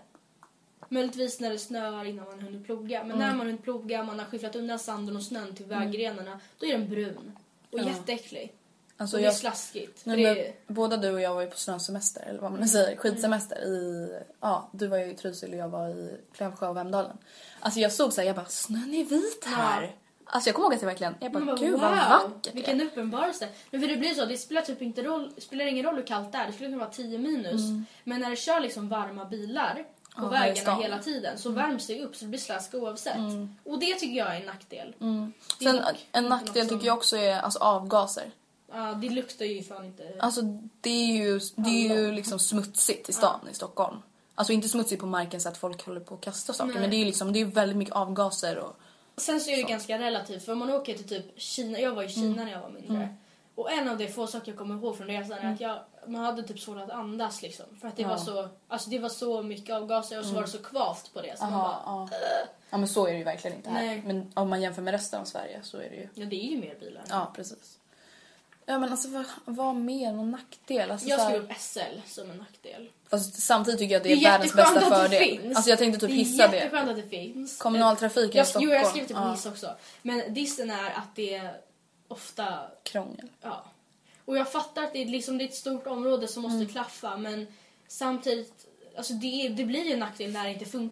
[SPEAKER 4] Möjligtvis när det snöar innan man hunnit ploga. Men
[SPEAKER 3] Mm.
[SPEAKER 4] när man hunnit ploga, man har skifflat undan sanden och snön till vägrenarna, då är den brun. Och jätteäcklig.
[SPEAKER 3] Alltså,
[SPEAKER 4] och det är
[SPEAKER 3] jag-
[SPEAKER 4] slaskigt.
[SPEAKER 3] Nej,
[SPEAKER 4] för
[SPEAKER 3] men
[SPEAKER 4] det är,
[SPEAKER 3] Båda du och jag var ju på snösemester, eller vad man nu säger, skidsemester i... Ja, du var ju i Trysil och jag var i Klövsjö och Vemdalen. Alltså jag såg såhär, jag bara snön är vit här. Alltså jag kommer ihåg att jag verkligen, jag bara,
[SPEAKER 4] man bara,
[SPEAKER 3] gud
[SPEAKER 4] wow,
[SPEAKER 3] vad vackert det
[SPEAKER 4] Vilken
[SPEAKER 3] är.
[SPEAKER 4] uppenbarelse. Men för det blir så, det spelar typ inte roll, spelar ingen roll hur kallt det är, det skulle kunna vara 10 minus. Men när det kör liksom varma bilar på
[SPEAKER 3] Mm. Ja, Mm. här i
[SPEAKER 4] vägarna
[SPEAKER 3] stan.
[SPEAKER 4] hela tiden så värms det upp så det blir slask oavsett.
[SPEAKER 3] Mm.
[SPEAKER 4] Och det tycker jag är en nackdel. Det är
[SPEAKER 3] Sen
[SPEAKER 4] dock
[SPEAKER 3] en
[SPEAKER 4] inte
[SPEAKER 3] nackdel
[SPEAKER 4] något som-
[SPEAKER 3] tycker jag också är alltså, avgaser.
[SPEAKER 4] Ja, det luktar ju fan inte.
[SPEAKER 3] Alltså det är ju, det är ju liksom smutsigt i stan i Stockholm. Alltså inte smutsigt på marken så att folk håller på att kasta saker men det är ju liksom, det är väldigt mycket avgaser och...
[SPEAKER 4] Sen så är det ganska relativt för om man åker till typ Kina, jag var i Kina
[SPEAKER 3] Mm.
[SPEAKER 4] när jag var mindre. Och en av de få saker jag kommer ihåg från resan
[SPEAKER 3] Mm.
[SPEAKER 4] är att jag, man hade typ svårt att andas liksom. För att det, var, så, alltså det var så mycket avgaser och så var
[SPEAKER 3] Mm.
[SPEAKER 4] det så kvavt på det. Så man bara,
[SPEAKER 3] Ja, ja. ja men så är det ju verkligen inte här.
[SPEAKER 4] Nej.
[SPEAKER 3] Men om man jämför med resten av Sverige så är det ju...
[SPEAKER 4] Ja, det är ju mer bilar.
[SPEAKER 3] Ja, precis. Ja, men alltså vad, vad mer? Någon nackdel? Alltså,
[SPEAKER 4] Jag
[SPEAKER 3] så här-
[SPEAKER 4] skrev upp SL som en nackdel.
[SPEAKER 3] Alltså, samtidigt tycker jag att det
[SPEAKER 4] Det
[SPEAKER 3] är,
[SPEAKER 4] är
[SPEAKER 3] världens
[SPEAKER 4] jätteskönt
[SPEAKER 3] bästa
[SPEAKER 4] att det
[SPEAKER 3] fördel.
[SPEAKER 4] finns.
[SPEAKER 3] Alltså jag tänkte typ hissa
[SPEAKER 4] Det är
[SPEAKER 3] det.
[SPEAKER 4] jätteskönt att det finns.
[SPEAKER 3] Kommunaltrafiken i
[SPEAKER 4] jag,
[SPEAKER 3] Stockholm.
[SPEAKER 4] Jo, jag skrev typ
[SPEAKER 3] Ja.
[SPEAKER 4] hiss också. Men dissen är att det är ofta...
[SPEAKER 3] Krångel.
[SPEAKER 4] Ja. Och jag fattar att det är, liksom, det är ett stort område som
[SPEAKER 3] Mm.
[SPEAKER 4] måste klaffa men samtidigt, alltså det, är- det blir ju en nackdel när det inte funkar.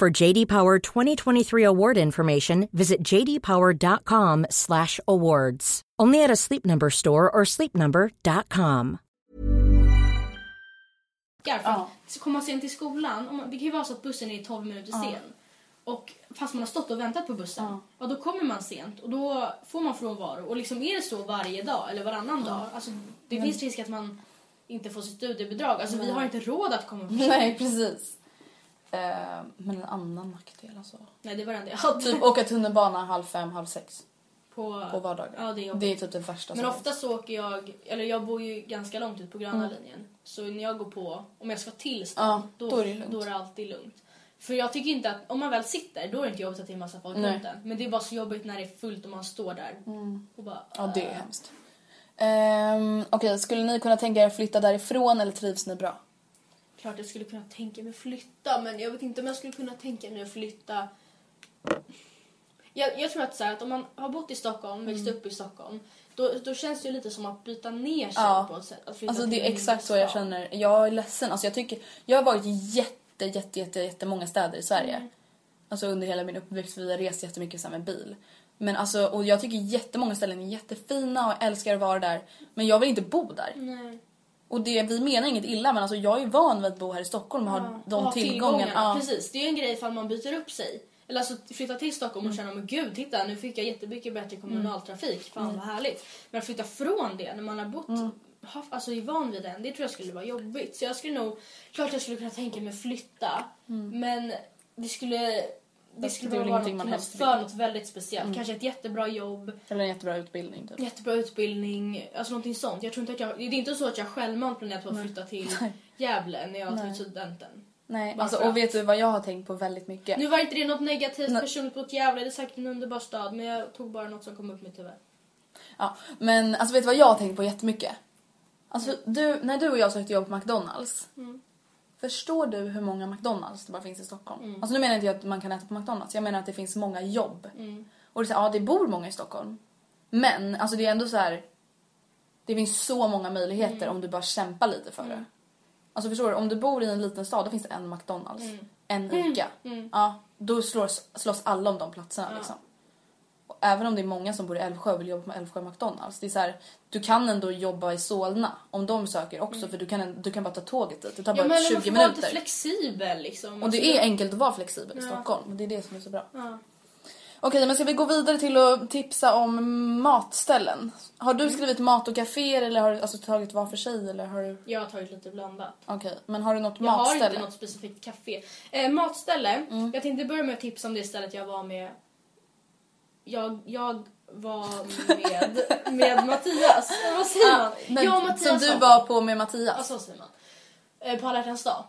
[SPEAKER 5] For JD Power 2023 award information, visit jdpower.com/awards. Only at a Sleep Number store or sleepnumber.com.
[SPEAKER 4] För att komma sent till skolan, om man, det kan ju vara så att bussen är 12 minuter sen. Och fast man har stått och väntat på bussen, ja då kommer man sent och då får man frånvaro. Och liksom är det så varje dag eller varannan dag, alltså det finns risk att man inte får sitt studiebidrag. Alltså vi har inte råd att komma för sent.
[SPEAKER 3] Nej precis. Eh, men en annan nackdel alltså.
[SPEAKER 4] Nej det var den jag hade.
[SPEAKER 3] Typ åka tunnelbana halv fem, halv sex
[SPEAKER 4] på,
[SPEAKER 3] på vardagar.
[SPEAKER 4] Ja det är jobbigt.
[SPEAKER 3] det är typ det värsta
[SPEAKER 4] Men
[SPEAKER 3] som
[SPEAKER 4] ofta så åker jag, eller jag bor ju ganska långt ut på gröna linjen. Så när jag går på, om jag ska till stan,
[SPEAKER 3] Mm. Ja, då är det lugnt.
[SPEAKER 4] då är det alltid lugnt. För jag tycker inte att, om man väl sitter, då är det inte jobbigt att det är en massa folk
[SPEAKER 3] Nej. Mm.
[SPEAKER 4] runt en. Men det är bara så jobbigt när det är fullt och man står där och bara...
[SPEAKER 3] Ja, det är hemskt. Um, Okej, skulle ni kunna tänka er att flytta därifrån eller trivs ni bra?
[SPEAKER 4] "Ah, Klart jag skulle kunna tänka mig flytta men jag vet inte om jag skulle kunna tänka mig att flytta. Jag, jag tror att, så här, att om man har bott i Stockholm, växt
[SPEAKER 3] Mm.
[SPEAKER 4] upp i Stockholm, då, då känns det ju lite som att byta ner sig
[SPEAKER 3] Ja.
[SPEAKER 4] på ett sätt. Att flytta
[SPEAKER 3] Alltså
[SPEAKER 4] till
[SPEAKER 3] det
[SPEAKER 4] en
[SPEAKER 3] är exakt så jag
[SPEAKER 4] stad.
[SPEAKER 3] känner. Jag är ledsen. Alltså jag tycker... Jag har varit i jätte, jätte, jätte, jättemånga städer i Sverige.
[SPEAKER 4] Mm.
[SPEAKER 3] Alltså under hela min uppväxt. Vi har rest jättemycket så här med bil. Men alltså, och jag tycker jättemånga ställen är jättefina och jag älskar att vara där. Men jag vill inte bo där.
[SPEAKER 4] Nej.
[SPEAKER 3] Och det, vi menar inget illa men alltså jag är ju van vid att bo här i Stockholm och ha de
[SPEAKER 4] och ha
[SPEAKER 3] tillgångarna. Ja.
[SPEAKER 4] Precis, det är ju en grej ifall man byter upp sig. Eller alltså flytta till Stockholm
[SPEAKER 3] Mm.
[SPEAKER 4] och känna men gud titta nu fick jag jättemycket bättre kommunaltrafik, fan
[SPEAKER 3] Mm.
[SPEAKER 4] vad härligt. Men att flytta från det när man har bott haft, alltså är van vid den, det tror jag skulle vara jobbigt. Så jag skulle nog, klart jag skulle kunna tänka mig flytta men det skulle det skulle
[SPEAKER 3] Mm. det är väl
[SPEAKER 4] bara vara
[SPEAKER 3] ingenting
[SPEAKER 4] något,
[SPEAKER 3] man
[SPEAKER 4] något
[SPEAKER 3] helst
[SPEAKER 4] för
[SPEAKER 3] vill. Mm.
[SPEAKER 4] något väldigt speciellt. Kanske ett jättebra jobb,
[SPEAKER 3] Eller en jättebra utbildning typ.
[SPEAKER 4] jättebra utbildning, alltså någonting sånt. Jag tror inte att jag, det är inte så att jag självmant planerat på att flytta till Gävle när jag tog studenten.
[SPEAKER 3] Nej,
[SPEAKER 4] Bara
[SPEAKER 3] alltså,
[SPEAKER 4] för
[SPEAKER 3] och vet du vad jag har tänkt på väldigt mycket?
[SPEAKER 4] Nu var inte det något negativt
[SPEAKER 3] Nej.
[SPEAKER 4] personligt mot Gävle, det är säkert en underbar stad men jag tog bara något som kom upp i mitt huvud.
[SPEAKER 3] Ja, men alltså vet du vad jag har tänkt på jättemycket? Alltså du, när du och jag sökte jobb på McDonalds. Förstår du hur många McDonalds det bara finns i Stockholm? Alltså nu menar inte jag att man kan äta på McDonalds, jag menar att det finns många jobb. Och det är så här, ja det bor många i Stockholm. Men alltså det är ändå så här. Det finns så många möjligheter om du bara kämpar lite för
[SPEAKER 4] Mm.
[SPEAKER 3] det. Alltså förstår du, om du bor i en liten stad då finns det en
[SPEAKER 4] Mm.
[SPEAKER 3] McDonalds, en ICA. Ja, då slås, slås alla om de platserna liksom. Och Även om det är många som bor i Älvsjö och vill jobba på Älvsjö McDonalds. Det är så här, du kan ändå jobba i Solna om de söker också för du kan, du kan bara ta tåget dit. Det tar
[SPEAKER 4] Mm. Ja,
[SPEAKER 3] bara
[SPEAKER 4] men man
[SPEAKER 3] 20
[SPEAKER 4] får vara lite
[SPEAKER 3] minuter.
[SPEAKER 4] flexibel liksom.
[SPEAKER 3] Och det är enkelt att vara flexibel i
[SPEAKER 4] Ja.
[SPEAKER 3] Stockholm. Det är det som är så bra.
[SPEAKER 4] Ja.
[SPEAKER 3] Okej, men ska vi gå vidare till att tipsa om matställen? Har
[SPEAKER 4] Mm.
[SPEAKER 3] du skrivit mat och kaféer eller har du alltså, tagit var för sig? Eller har du...
[SPEAKER 4] Jag har tagit lite blandat.
[SPEAKER 3] Okej, men har du något
[SPEAKER 4] Jag har
[SPEAKER 3] matställe? Mm.
[SPEAKER 4] inte något specifikt café. Eh, matställe. Jag tänkte börja med att tipsa om det stället jag var med. Jag, jag var med, med Mattias. Eller Vad säger man?
[SPEAKER 3] Nej,
[SPEAKER 4] jag och Mattias Alltså-
[SPEAKER 3] som du
[SPEAKER 4] var
[SPEAKER 3] var på med Mattias.
[SPEAKER 4] Ja, så säger man. Eh, på alla hjärtans dag.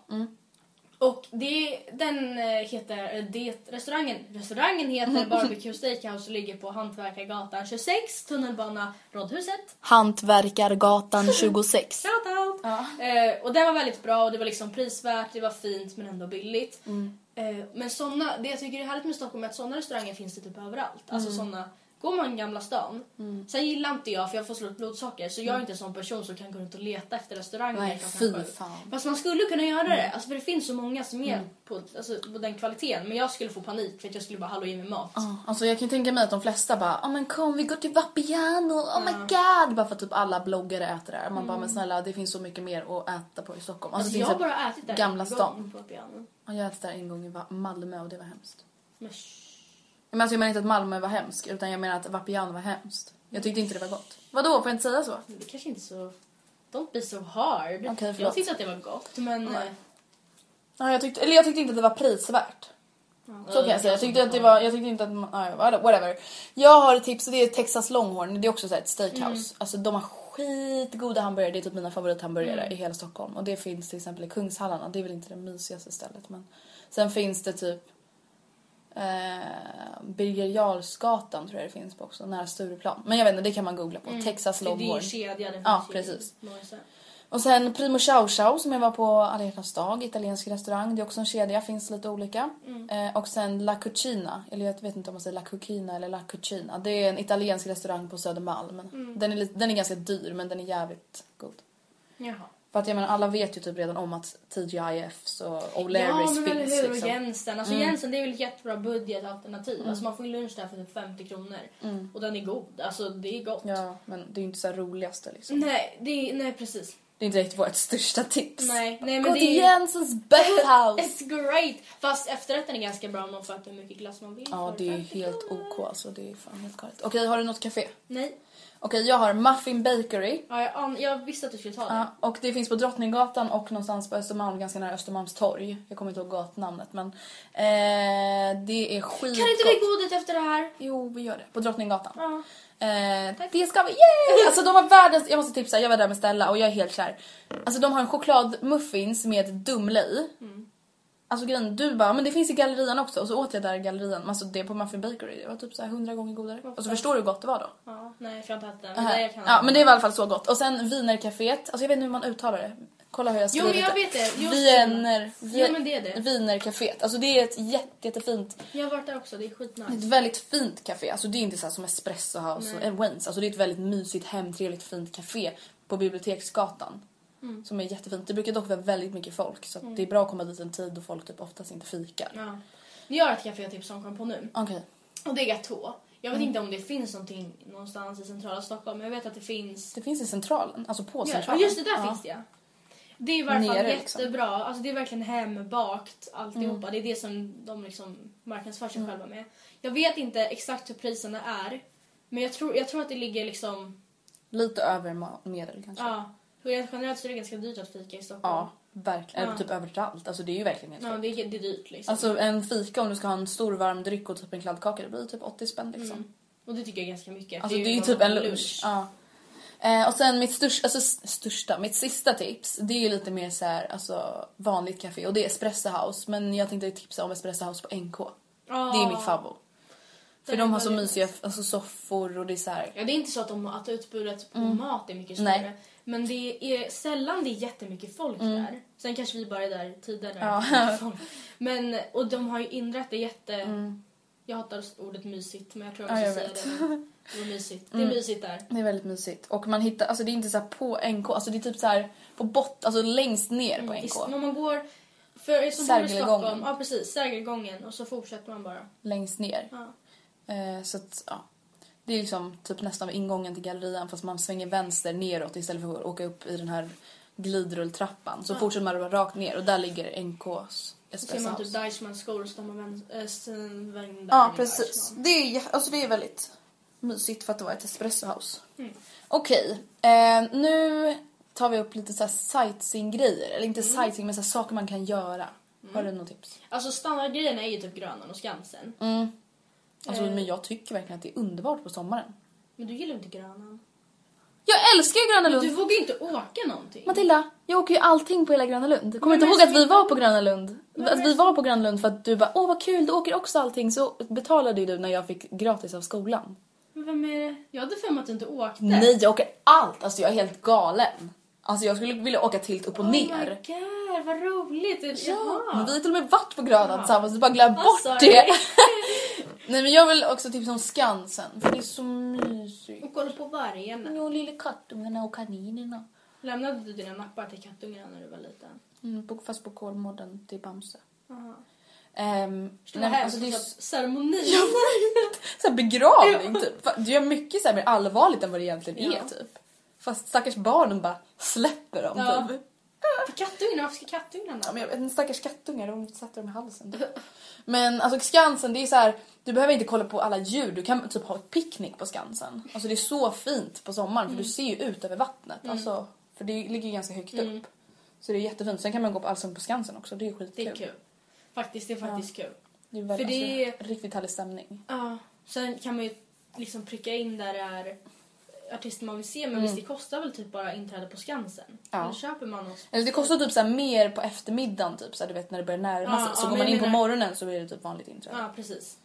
[SPEAKER 4] Och det, den eh, heter, eh, det, restaurangen, restaurangen heter Barbecue Steakhouse och ligger på Hantverkargatan 26, tunnelbana Rådhuset.
[SPEAKER 3] Hantverkargatan 26.
[SPEAKER 4] Shoutout! Eh, och den var väldigt bra och det var liksom prisvärt, det var fint men ändå billigt.
[SPEAKER 3] Mm.
[SPEAKER 4] Eh, men såna, det jag tycker är härligt med Stockholm är att sådana restauranger finns det typ överallt.
[SPEAKER 3] Mm.
[SPEAKER 4] Alltså sådana, går man Gamla stan, sen gillar inte jag för jag får slå upp blodsocker så jag är inte en sån person som kan gå runt och leta efter restauranger.
[SPEAKER 3] Mm. Nej,
[SPEAKER 4] klockan
[SPEAKER 3] fy
[SPEAKER 4] sju.
[SPEAKER 3] fan. Mm.
[SPEAKER 4] Fast man skulle kunna göra det, alltså för det finns så många som är på, alltså, på den kvaliteten. Men jag skulle få panik för att jag skulle bara hallå ge mig mat.
[SPEAKER 3] Alltså jag kan ju tänka mig att de flesta bara ja men kom vi går till Vapiano, oh my god! Bara för att typ alla bloggare äter det här. Man bara men snälla det finns så mycket mer att äta på i Stockholm.
[SPEAKER 4] Mm. Alltså,
[SPEAKER 3] det
[SPEAKER 4] jag
[SPEAKER 3] finns
[SPEAKER 4] har
[SPEAKER 3] ett-
[SPEAKER 4] bara ätit där
[SPEAKER 3] Gamla
[SPEAKER 4] en gång
[SPEAKER 3] stan.
[SPEAKER 4] på pianon.
[SPEAKER 3] Ja, Jag ätit där en gång i Va- Malmö och det var hemskt.
[SPEAKER 4] Men shh.
[SPEAKER 3] Men alltså jag menar inte att Malmö var hemskt utan jag menar att Vapiano var hemskt. Jag tyckte inte det var gott. Vadå, får jag inte säga så?
[SPEAKER 4] Det kanske inte är så... Don't be so hard.
[SPEAKER 3] Okej, förlåt.
[SPEAKER 4] jag tyckte att det var gott, men... eh,
[SPEAKER 3] Ja, jag tyckte, eller jag tyckte inte att det var prisvärt. Så kan jag säga. Jag tyckte, att det var, jag tyckte inte att man, nej, whatever. Jag har ett tips och det är Texas Longhorn. Det är också så här ett steakhouse.
[SPEAKER 4] Mm.
[SPEAKER 3] Alltså de har skitgoda hamburgare. Det är typ mina favorithamburgare
[SPEAKER 4] Mm.
[SPEAKER 3] i hela Stockholm. Och det finns till exempel i Kungshallarna. Det är väl inte det mysigaste stället men. Sen finns det typ eh, Birger Jarlsgatan tror jag det finns på också. Nära Stureplan. Men jag vet inte, det kan man googla på. Texas
[SPEAKER 4] Mm. det är ju
[SPEAKER 3] Longhorn.
[SPEAKER 4] en kedja. Det finns
[SPEAKER 3] Ja,
[SPEAKER 4] ju
[SPEAKER 3] precis.
[SPEAKER 4] några så här.
[SPEAKER 3] Och sen Primo Ciao Ciao som jag var på alla hjärtans dag, italiensk restaurang. Det är också en kedja, finns lite olika.
[SPEAKER 4] Mm.
[SPEAKER 3] Eh, och sen La Cucina, eller jag vet inte om man säger La Cucina eller La Cucina. Det är en italiensk restaurang på Södermalm.
[SPEAKER 4] Mm.
[SPEAKER 3] Den, är lite, den är ganska dyr men den är jävligt god.
[SPEAKER 4] Jaha.
[SPEAKER 3] För att jag menar alla vet ju typ redan om att TGIFs och
[SPEAKER 4] Ja,
[SPEAKER 3] O'Learys
[SPEAKER 4] men eller
[SPEAKER 3] finns
[SPEAKER 4] hur? Och
[SPEAKER 3] liksom. Mm.
[SPEAKER 4] Jensen. Alltså Jensen, det är väl ett jättebra budgetalternativ. Alltså man får ju lunch där för typ 50 kronor. Och den är god. Alltså det är gott.
[SPEAKER 3] Ja, men det är ju inte så här roligaste liksom.
[SPEAKER 4] Nej, det är, nej precis.
[SPEAKER 3] Det är inte riktigt vårt största tips.
[SPEAKER 4] Nej, nej men
[SPEAKER 3] Gå
[SPEAKER 4] det
[SPEAKER 3] till
[SPEAKER 4] är...
[SPEAKER 3] Jensens Backhouse!
[SPEAKER 4] It's great! Fast efterrätten är ganska bra om man får äta hur mycket glass man vill.
[SPEAKER 3] ja,
[SPEAKER 4] för
[SPEAKER 3] det är
[SPEAKER 4] 50
[SPEAKER 3] helt
[SPEAKER 4] kronor.
[SPEAKER 3] OK alltså. Det är fan helt galet. Okej, har du något café?
[SPEAKER 4] Nej.
[SPEAKER 3] Okej, jag har Muffin Bakery.
[SPEAKER 4] Ja, jag, an- jag visste att du skulle ta det.
[SPEAKER 3] Ja, och det finns på Drottninggatan och någonstans på Östermalm, ganska nära Östermalmstorg. Jag kommer inte ihåg gatnamnet men eh, det är skitgott.
[SPEAKER 4] Kan inte vi gå dit efter det här?
[SPEAKER 3] Jo, vi gör det. På Drottninggatan.
[SPEAKER 4] Ja.
[SPEAKER 3] Eh,
[SPEAKER 4] Tack.
[SPEAKER 3] det ska vi. Yay! Alltså de har världens... Jag måste tipsa, jag var där med Stella och jag är helt kär. Alltså de har en chokladmuffins med Dumle i.
[SPEAKER 4] Mm.
[SPEAKER 3] Alltså grejen, du bara, men det finns i gallerian också. Och så åt jag där i gallerian, alltså det på Muffin Bakery. Det var typ så här 100 gånger godare. Alltså förstår du hur gott det var då?
[SPEAKER 4] Ja, nej, för jag har inte ätit den. Men
[SPEAKER 3] Här.
[SPEAKER 4] det jag kan
[SPEAKER 3] Ja men det var i alla fall så gott. Och sen Wienercaféet, alltså jag vet inte hur man uttalar det. Kolla hur jag
[SPEAKER 4] Jo,
[SPEAKER 3] skriver
[SPEAKER 4] men jag vet det. Just
[SPEAKER 3] Wiener,
[SPEAKER 4] Jo, men det är det.
[SPEAKER 3] Wienercaféet. Alltså det är ett jätte, jättefint,
[SPEAKER 4] Jag har varit där också, det är skitnice.
[SPEAKER 3] ett väldigt fint café. Alltså det är inte så här som Espresso House och Waynes. Alltså det är ett väldigt mysigt, hemtrevligt, fint café på Biblioteksgatan.
[SPEAKER 4] Mm.
[SPEAKER 3] Som är jättefint. Det brukar dock vara väldigt mycket folk så att det är bra att komma dit en tid då folk typ oftast inte fikar.
[SPEAKER 4] Ja. Jag har ett café jag tipsar om kom på nu.
[SPEAKER 3] Okej.
[SPEAKER 4] Och det är Gatå. Jag vet
[SPEAKER 3] Mm.
[SPEAKER 4] inte om det finns någonting någonstans i centrala Stockholm, men jag vet att det finns.
[SPEAKER 3] Det finns i Centralen, alltså på
[SPEAKER 4] Ja,
[SPEAKER 3] Centralen.
[SPEAKER 4] just det, där finns det ja. Det är i varje fall
[SPEAKER 3] Nere, liksom. Mm.
[SPEAKER 4] jättebra. Alltså det är verkligen hembakt alltihopa. Det är det som de liksom marknadsför sig själva med. Jag vet inte exakt hur priserna är. Men jag tror, jag tror att det ligger liksom...
[SPEAKER 3] Lite över ma- medel kanske.
[SPEAKER 4] Ja. Rent generellt så är det ganska dyrt att fika i Stockholm.
[SPEAKER 3] Ja, verkligen. Eller typ överallt. Alltså det är ju verkligen helt
[SPEAKER 4] Ja,
[SPEAKER 3] sjukt.
[SPEAKER 4] det är, det är dyrt liksom.
[SPEAKER 3] Alltså en fika om du ska ha en stor varm dryck och typ en kladdkaka, det blir typ 80 spänn liksom.
[SPEAKER 4] Och det tycker jag är ganska mycket.
[SPEAKER 3] Alltså det är ju
[SPEAKER 4] vad
[SPEAKER 3] typ
[SPEAKER 4] man
[SPEAKER 3] en
[SPEAKER 4] har
[SPEAKER 3] lunch. Ja. Eh, och sen mitt största, alltså s- största, mitt sista tips, det är ju lite mer så här, alltså vanligt café och det är Espresso House. Men jag tänkte tipsa om Espresso House på NK. Det är mitt favorit. För
[SPEAKER 4] Den
[SPEAKER 3] de
[SPEAKER 4] var
[SPEAKER 3] har så
[SPEAKER 4] det.
[SPEAKER 3] mysiga alltså, soffor och det är så här.
[SPEAKER 4] Ja, det är inte så att, de, att utbudet på mat är mycket större.
[SPEAKER 3] Mm. Nej.
[SPEAKER 4] Men det är sällan det är jättemycket folk där. Sen kanske vi bara är där tider när
[SPEAKER 3] Mm. Ja.
[SPEAKER 4] det är folk. Men, och de har ju inrett det jätte... Jag hatar ordet mysigt men jag tror jag
[SPEAKER 3] Mm.
[SPEAKER 4] måste
[SPEAKER 3] Ja, jag
[SPEAKER 4] säga
[SPEAKER 3] vet. Mm.
[SPEAKER 4] det. nu. Det var mysigt. Det är mysigt där.
[SPEAKER 3] Det är väldigt mysigt. Och man hittar, alltså det är inte så här på NK, alltså det är typ så här på bott, alltså längst ner på
[SPEAKER 4] I-
[SPEAKER 3] NK.
[SPEAKER 4] När man går... För som bor i
[SPEAKER 3] Sergelgången.
[SPEAKER 4] Stockholm, ja precis, Sergelgången och så fortsätter man bara.
[SPEAKER 3] längst ner. Eh, så att, ja. Det är liksom typ nästan vid ingången till gallerian fast man svänger vänster neråt istället för att åka upp i den här glidrulltrappan. Så fortsätter man rakt ner och där ligger NKs
[SPEAKER 4] Så ser
[SPEAKER 3] SPS
[SPEAKER 4] man typ
[SPEAKER 3] House.
[SPEAKER 4] Deichmans skor så tar man vän- eh, sin vän där
[SPEAKER 3] Ja
[SPEAKER 4] i
[SPEAKER 3] precis.
[SPEAKER 4] Deichmann.
[SPEAKER 3] Det är, jä- alltså, det är väldigt mysigt för att det var ett espresso house.
[SPEAKER 4] Mm.
[SPEAKER 3] Okej, eh, nu tar vi upp lite så här sightseeing-grejer. Eller inte
[SPEAKER 4] Mm.
[SPEAKER 3] sightseeing men så här saker man kan göra. Har du något tips?
[SPEAKER 4] Alltså standardgrejerna är ju typ Grönan och Skansen.
[SPEAKER 3] Mm. Alltså,
[SPEAKER 4] Eh.
[SPEAKER 3] men jag tycker verkligen att det är underbart på sommaren.
[SPEAKER 4] Men du gillar ju inte Grönan.
[SPEAKER 3] Jag älskar ju Gröna Lund!
[SPEAKER 4] Du vågar ju inte åka någonting.
[SPEAKER 3] Matilda, jag åker ju allting på hela Gröna Lund. Kommer du
[SPEAKER 4] men
[SPEAKER 3] inte ihåg
[SPEAKER 4] jag
[SPEAKER 3] att
[SPEAKER 4] ska-
[SPEAKER 3] vi var på Gröna Lund?
[SPEAKER 4] men alltså-
[SPEAKER 3] Att vi
[SPEAKER 4] jag-
[SPEAKER 3] var på Gröna Lund för att du bara åh vad kul, du åker också allting. Så betalade ju du när jag fick gratis av skolan.
[SPEAKER 4] Men vem är det? Jag hade för mig att du inte åkte.
[SPEAKER 3] Nej, jag åker allt! Alltså jag är helt galen. Alltså jag skulle vilja åka tilt upp och
[SPEAKER 4] Oh my
[SPEAKER 3] ner.
[SPEAKER 4] god, vad roligt! Jaha.
[SPEAKER 3] Men vi har till och med varit på Gröna tillsammans, du bara glöm
[SPEAKER 4] Ah,
[SPEAKER 3] bort
[SPEAKER 4] sorry.
[SPEAKER 3] det. Nej men jag vill också tipsa om Skansen, för det är så mysigt.
[SPEAKER 4] Och kolla på vargarna.
[SPEAKER 3] Och lilla kattungarna och kaninerna.
[SPEAKER 4] Lämnade du dina nappar till kattungarna när du var liten?
[SPEAKER 3] Mm, på- fast på Kolmården till Bamse.
[SPEAKER 4] Jaha.
[SPEAKER 3] Um,
[SPEAKER 4] Det var hemskt.
[SPEAKER 3] det är
[SPEAKER 4] så att ceremoni.
[SPEAKER 3] Jag vet. Så här begravning typ. Fa- Du gör mycket så här mer allvarligt än vad det egentligen är
[SPEAKER 4] Ja.
[SPEAKER 3] typ. Fast stackars barnen bara släpper dem
[SPEAKER 4] Ja.
[SPEAKER 3] typ.
[SPEAKER 4] Kattungarna, varför ska kattungarna?
[SPEAKER 3] Ja, men jag vet inte, stackars kattungar, de sätter dem i halsen. Typ. Men alltså Skansen, det är så här, du behöver inte kolla på alla djur, du kan typ ha ett picknick på Skansen. Alltså det är så fint på sommaren för du
[SPEAKER 4] Mm.
[SPEAKER 3] ser ju ut över vattnet. Alltså, för det ligger ju ganska högt
[SPEAKER 4] Mm.
[SPEAKER 3] upp. Så det är jättefint. Sen kan man gå på Allsång på Skansen också, det är skitkul.
[SPEAKER 4] Det är kul. Faktiskt, det är faktiskt kul.
[SPEAKER 3] Det är väl,
[SPEAKER 4] För det
[SPEAKER 3] alltså, riktigt härlig stämning.
[SPEAKER 4] Ja. Sen kan man ju liksom pricka in där det är artister man vill se men visst det kostar väl typ bara inträde på Skansen?
[SPEAKER 3] Mm. Ja.
[SPEAKER 4] Eller köper man oss?
[SPEAKER 3] Eller det kostar typ så här mer på eftermiddagen, typ så här, du vet när det börjar närma sig.
[SPEAKER 4] Ja,
[SPEAKER 3] så
[SPEAKER 4] ja,
[SPEAKER 3] går
[SPEAKER 4] men
[SPEAKER 3] man in
[SPEAKER 4] jag
[SPEAKER 3] på
[SPEAKER 4] menar-
[SPEAKER 3] morgonen så blir det typ vanligt inträde.
[SPEAKER 4] Ja, precis.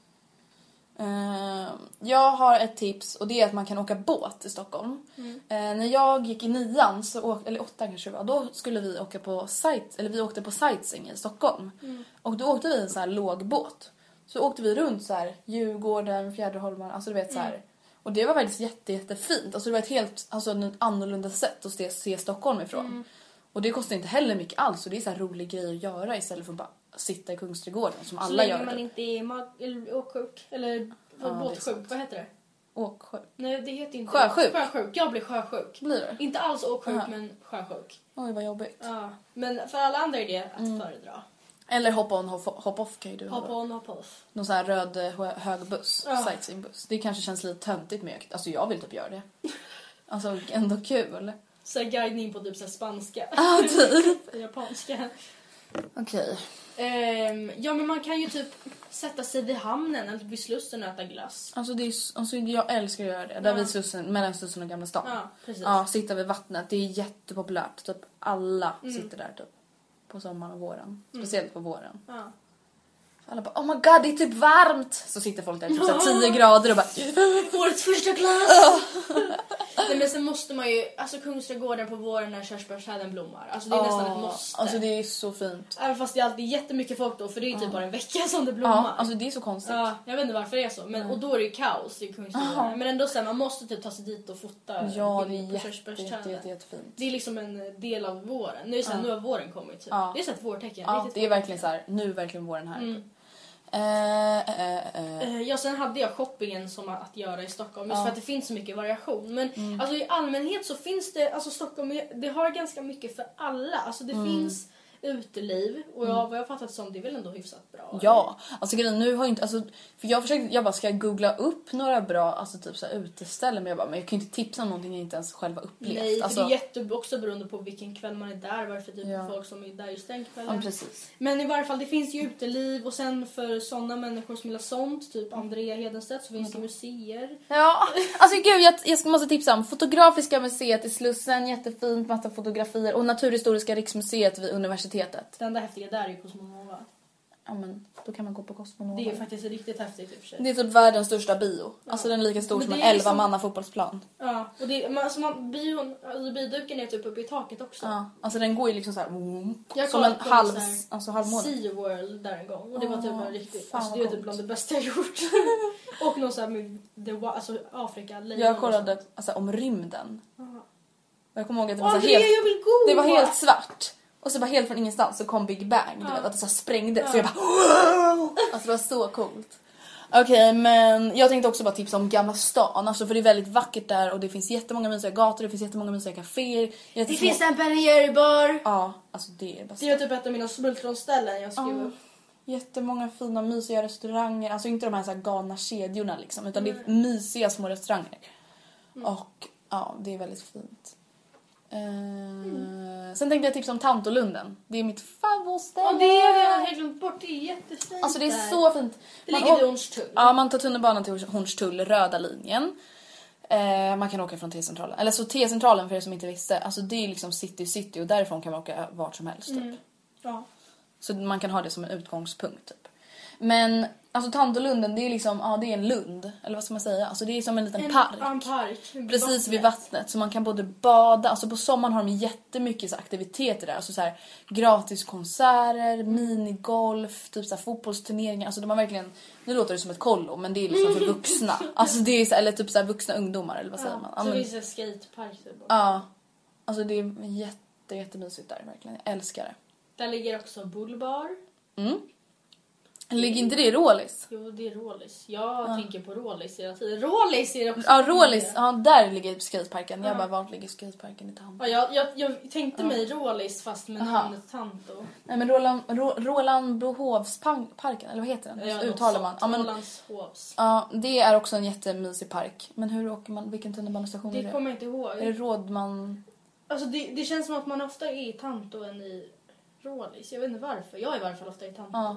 [SPEAKER 3] Eh, jag har ett tips och det är att man kan åka båt i Stockholm.
[SPEAKER 4] Mm.
[SPEAKER 3] Eh, när jag gick i nian, så åk, eller åttan kanske det var, då skulle vi åka på sight, eller vi åkte på sightseeing i Stockholm.
[SPEAKER 4] Mm.
[SPEAKER 3] Och då åkte vi i en sån här lågbåt. Så åkte vi runt så här Djurgården, Fjäderholmarna, alltså du vet så här.
[SPEAKER 4] Mm.
[SPEAKER 3] Och det var faktiskt jätte, jättefint. Alltså det var ett helt alltså, ett annorlunda sätt att se, se Stockholm ifrån.
[SPEAKER 4] Mm.
[SPEAKER 3] Och det kostar inte heller mycket alls och det är så här rolig grej att göra istället för att bara sitta i Kungsträdgården som
[SPEAKER 4] Så
[SPEAKER 3] alla
[SPEAKER 4] länge
[SPEAKER 3] gör.
[SPEAKER 4] man
[SPEAKER 3] typ.
[SPEAKER 4] inte är mag- eller åksjuk eller
[SPEAKER 3] det är sant.
[SPEAKER 4] båtsjuk, vad heter det?
[SPEAKER 3] Åksjuk.
[SPEAKER 4] Nej, det heter inte
[SPEAKER 3] Sjösjuk.
[SPEAKER 4] Sjösjuk. Jag blir sjösjuk.
[SPEAKER 3] Blir du?
[SPEAKER 4] Inte alls åksjuk
[SPEAKER 3] Aha.
[SPEAKER 4] men sjösjuk.
[SPEAKER 3] Oj vad jobbigt.
[SPEAKER 4] Ja. Men för alla andra är det att
[SPEAKER 3] Mm.
[SPEAKER 4] föredra.
[SPEAKER 3] Eller hop on, hop, hop off kan ju du
[SPEAKER 4] Hop
[SPEAKER 3] ha.
[SPEAKER 4] on, hop off.
[SPEAKER 3] Någon sån här röd eh, hö- hög buss,
[SPEAKER 4] Ja.
[SPEAKER 3] sightseeingbuss. Det kanske känns lite töntigt men jag, alltså jag vill typ göra det. Alltså ändå kul.
[SPEAKER 4] Så här guidning på typ så här spanska.
[SPEAKER 3] Ja, typ.
[SPEAKER 4] Japanska.
[SPEAKER 3] Okej.
[SPEAKER 4] Ehm, ja men man kan ju typ sätta sig vid hamnen eller vid Slussen och äta glass.
[SPEAKER 3] Alltså, det är, s- alltså jag älskar att göra det. Där
[SPEAKER 4] Ja.
[SPEAKER 3] vid Slussen, mellan Slussen och Gamla stan.
[SPEAKER 4] Ja, precis.
[SPEAKER 3] Ja, sitta vid vattnet. Det är jättepopulärt. Typ alla
[SPEAKER 4] Mm.
[SPEAKER 3] sitter där typ. På sommaren och våren. Speciellt på våren.
[SPEAKER 4] Ja.
[SPEAKER 3] Alla bara oh my god det är typ varmt! Så sitter folk där typ så här 10 grader och bara
[SPEAKER 4] Årets första glass! Nej men sen måste man ju, alltså Kungsträdgården på våren när körsbärsträden blommar. Alltså det är nästan ett
[SPEAKER 3] "Åh."
[SPEAKER 4] måste.
[SPEAKER 3] Alltså det är så fint.
[SPEAKER 4] Även fast det är alltid jättemycket folk då för det är ju typ bara en vecka som det blommar.
[SPEAKER 3] Ja, alltså det är så konstigt.
[SPEAKER 4] Ja, jag vet inte varför det är så. Men, Och då är det ju kaos i Kungsträdgården. Men ändå så här, man måste typ ta sig dit och fota.
[SPEAKER 3] Ja, det är
[SPEAKER 4] in på
[SPEAKER 3] jätte, jätte,
[SPEAKER 4] körsbärsträden.
[SPEAKER 3] jätte, jättefint.
[SPEAKER 4] Det är liksom en del av våren. Nu är det så här, nu har våren kommit typ.
[SPEAKER 3] Ja.
[SPEAKER 4] Det är så här ett vårtecken.
[SPEAKER 3] Ja,
[SPEAKER 4] riktigt Mm.
[SPEAKER 3] det är
[SPEAKER 4] vårtecken.
[SPEAKER 3] verkligen så här, nu är verkligen våren här. Eh, eh, eh.
[SPEAKER 4] Eh, Ja, sen hade jag shoppingen som att göra i Stockholm just för att det finns så mycket variation. Men
[SPEAKER 3] Mm.
[SPEAKER 4] alltså, i allmänhet så finns det, alltså Stockholm är- det har ganska mycket för alla. Alltså det
[SPEAKER 3] Mm.
[SPEAKER 4] finns uteliv och jag, vad jag har fattat som det är väl ändå hyfsat bra.
[SPEAKER 3] Ja, alltså grejen nu har ju inte, alltså, för jag försökte, jag bara ska jag googla upp några bra alltså, typ så här, uteställen men jag bara, men jag kan ju inte tipsa om någonting jag inte ens själv har upplevt.
[SPEAKER 4] Nej, för
[SPEAKER 3] alltså,
[SPEAKER 4] det är jätte, också beroende på vilken kväll man är där, varför typ
[SPEAKER 3] Ja.
[SPEAKER 4] folk som är där just den kvällen.
[SPEAKER 3] ja, precis.
[SPEAKER 4] Men i varje fall, det finns ju uteliv och sen för sådana människor som gillar sånt, typ
[SPEAKER 3] Mm.
[SPEAKER 4] Andrea Hedenstedt, så finns det museer.
[SPEAKER 3] Ja, alltså gud jag, jag måste tipsa om Fotografiska museet i Slussen, jättefint, massa fotografier och Naturhistoriska riksmuseet vid universitetet.
[SPEAKER 4] Det enda häftiga där är ju Cosmonova.
[SPEAKER 3] Ja men då kan man gå på Cosmonova.
[SPEAKER 4] Det är faktiskt riktigt häftigt i och för sig.
[SPEAKER 3] Mm. Det är typ världens största bio. Alltså den är lika stor
[SPEAKER 4] Men
[SPEAKER 3] som en
[SPEAKER 4] det
[SPEAKER 3] 11
[SPEAKER 4] är liksom-
[SPEAKER 3] manna fotbollsplan.
[SPEAKER 4] Ja, och det, man, alltså man, bion, alltså biduken är typ uppe i taket också.
[SPEAKER 3] Ja. Alltså den går ju liksom så här.
[SPEAKER 4] Jag
[SPEAKER 3] som en
[SPEAKER 4] kollade på
[SPEAKER 3] halv,
[SPEAKER 4] så här
[SPEAKER 3] alltså halvmåne. Ah,
[SPEAKER 4] Sea World där en gång och det var typ en riktigt,
[SPEAKER 3] fan
[SPEAKER 4] alltså
[SPEAKER 3] vad
[SPEAKER 4] det är
[SPEAKER 3] coolt.
[SPEAKER 4] typ bland det bästa jag gjort. och någon såhär med the, Wa- alltså Afrika, lejon
[SPEAKER 3] Jag
[SPEAKER 4] och
[SPEAKER 3] kollade
[SPEAKER 4] sånt.
[SPEAKER 3] alltså, om rymden.
[SPEAKER 4] Jaha.
[SPEAKER 3] Och jag kommer ihåg att det var
[SPEAKER 4] Åh
[SPEAKER 3] så här
[SPEAKER 4] Andrea
[SPEAKER 3] helt,
[SPEAKER 4] jag vill gå!
[SPEAKER 3] det var helt svart. Och så bara helt från ingenstans så kom Big Bang. Du vet att det så här sprängdes. Så jag bara wow! Alltså det var så coolt. Okej men jag tänkte också bara tipsa om Gamla stan, alltså för det är väldigt vackert där och det finns jättemånga mysiga gator, det finns jättemånga mysiga kaféer.
[SPEAKER 4] Det finns en Ben Jerry-bar.
[SPEAKER 3] Ja, alltså det är bäst.
[SPEAKER 4] Det var typ ett av mina smultronställen jag skrev upp.
[SPEAKER 3] Jättemånga fina mysiga restauranger, alltså inte de här, så här galna kedjorna liksom utan det är
[SPEAKER 4] Mm.
[SPEAKER 3] mysiga små restauranger. Och ja, det är väldigt fint. Eh,
[SPEAKER 4] Mm.
[SPEAKER 3] Sen tänkte jag tipsa om Tantolunden. Det är mitt favoritställe.
[SPEAKER 4] Och det har jag helt glömt bort. Det är jättefint
[SPEAKER 3] Alltså det
[SPEAKER 4] där.
[SPEAKER 3] är så fint.
[SPEAKER 4] Det ligger
[SPEAKER 3] åk-
[SPEAKER 4] vid Hornstull.
[SPEAKER 3] Ja, man tar tunnelbanan till Hornstull, röda linjen. Eh, man kan åka från T-centralen. Eller så T-centralen för er som inte visste. Alltså det är liksom city city och därifrån kan man åka vart som helst typ.
[SPEAKER 4] Ja.
[SPEAKER 3] Så man kan ha det som en utgångspunkt typ. Men alltså Tandolunden det är liksom, ja det är en lund. Eller vad ska man säga? Alltså det är som en liten park.
[SPEAKER 4] ja, En park.
[SPEAKER 3] Precis vid vattnet så man kan både bada, alltså på sommaren har de jättemycket så här aktiviteter där. Alltså så här, gratis konserter, minigolf, typ så här fotbollsturneringar. Alltså de har verkligen, nu låter det som ett kollo men det är liksom för vuxna. Alltså det är så, eller typ så här vuxna ungdomar eller vad säger man? Ja,
[SPEAKER 4] Så
[SPEAKER 3] men-
[SPEAKER 4] finns det en skatepark där borta.
[SPEAKER 3] ja. Alltså det är jätte, jättemysigt där verkligen. Jag älskar det.
[SPEAKER 4] Där ligger också Bullbar. Mm.
[SPEAKER 3] Ligger inte det i Rålis?
[SPEAKER 4] Jo, det är Rålis. Jag tänker på Rålis hela tiden. Rålis är det också.
[SPEAKER 3] Ja, Rålis, ja där ligger skateparken. Jag bara, vart ligger skateparken i Tand?
[SPEAKER 4] Ja, jag, jag, jag tänkte mig Rålis fast med namnet Tanto.
[SPEAKER 3] Nej men Roland, Ro, Roland Bohovsparken, eller vad heter den?
[SPEAKER 4] Ja,
[SPEAKER 3] Hur uttalar man? Ja, men,
[SPEAKER 4] Ålandshovs.
[SPEAKER 3] Ja, det är också en jättemysig park. Men hur åker man? Vilken tunnelbanestation är
[SPEAKER 4] Det
[SPEAKER 3] det?
[SPEAKER 4] kommer jag inte ihåg.
[SPEAKER 3] Är det Rådman?
[SPEAKER 4] Alltså det, det känns som att man ofta är i Tanto än i Rålis. Jag vet inte varför. Jag är i varje fall ofta i Tanto
[SPEAKER 3] Ja.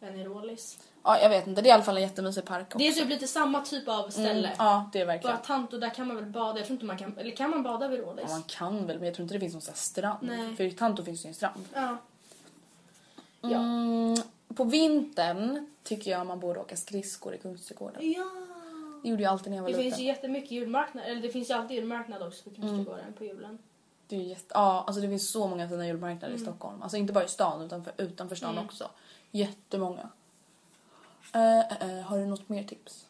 [SPEAKER 4] än i Rålis.
[SPEAKER 3] Ja, jag vet inte. Det är i alla fall en jättemysig park också.
[SPEAKER 4] Det är typ lite samma typ av ställe.
[SPEAKER 3] Mm, Ja, det är verkligen.
[SPEAKER 4] Bara Tanto, där kan man väl bada. Jag tror inte man kan... Eller kan man bada vid Rålis?
[SPEAKER 3] Ja, man kan väl, men jag tror inte det finns någon sån här strand.
[SPEAKER 4] Nej.
[SPEAKER 3] För i Tanto finns det ju en strand.
[SPEAKER 4] Ja.
[SPEAKER 3] Mm, på vintern tycker jag man borde åka skridskor i Kungsträdgården.
[SPEAKER 4] ja.
[SPEAKER 3] Det gjorde jag alltid när jag var
[SPEAKER 4] Det finns ju
[SPEAKER 3] liten.
[SPEAKER 4] jättemycket julmarknad. Eller det finns ju alltid julmarknad också på
[SPEAKER 3] Mm.
[SPEAKER 4] Kungsträdgården på julen.
[SPEAKER 3] Det, är ju jätte... ja, alltså det finns så många fina julmarknader i Stockholm. Alltså inte bara i stan utan för, utanför stan också. Jättemånga. Uh, har du något mer tips?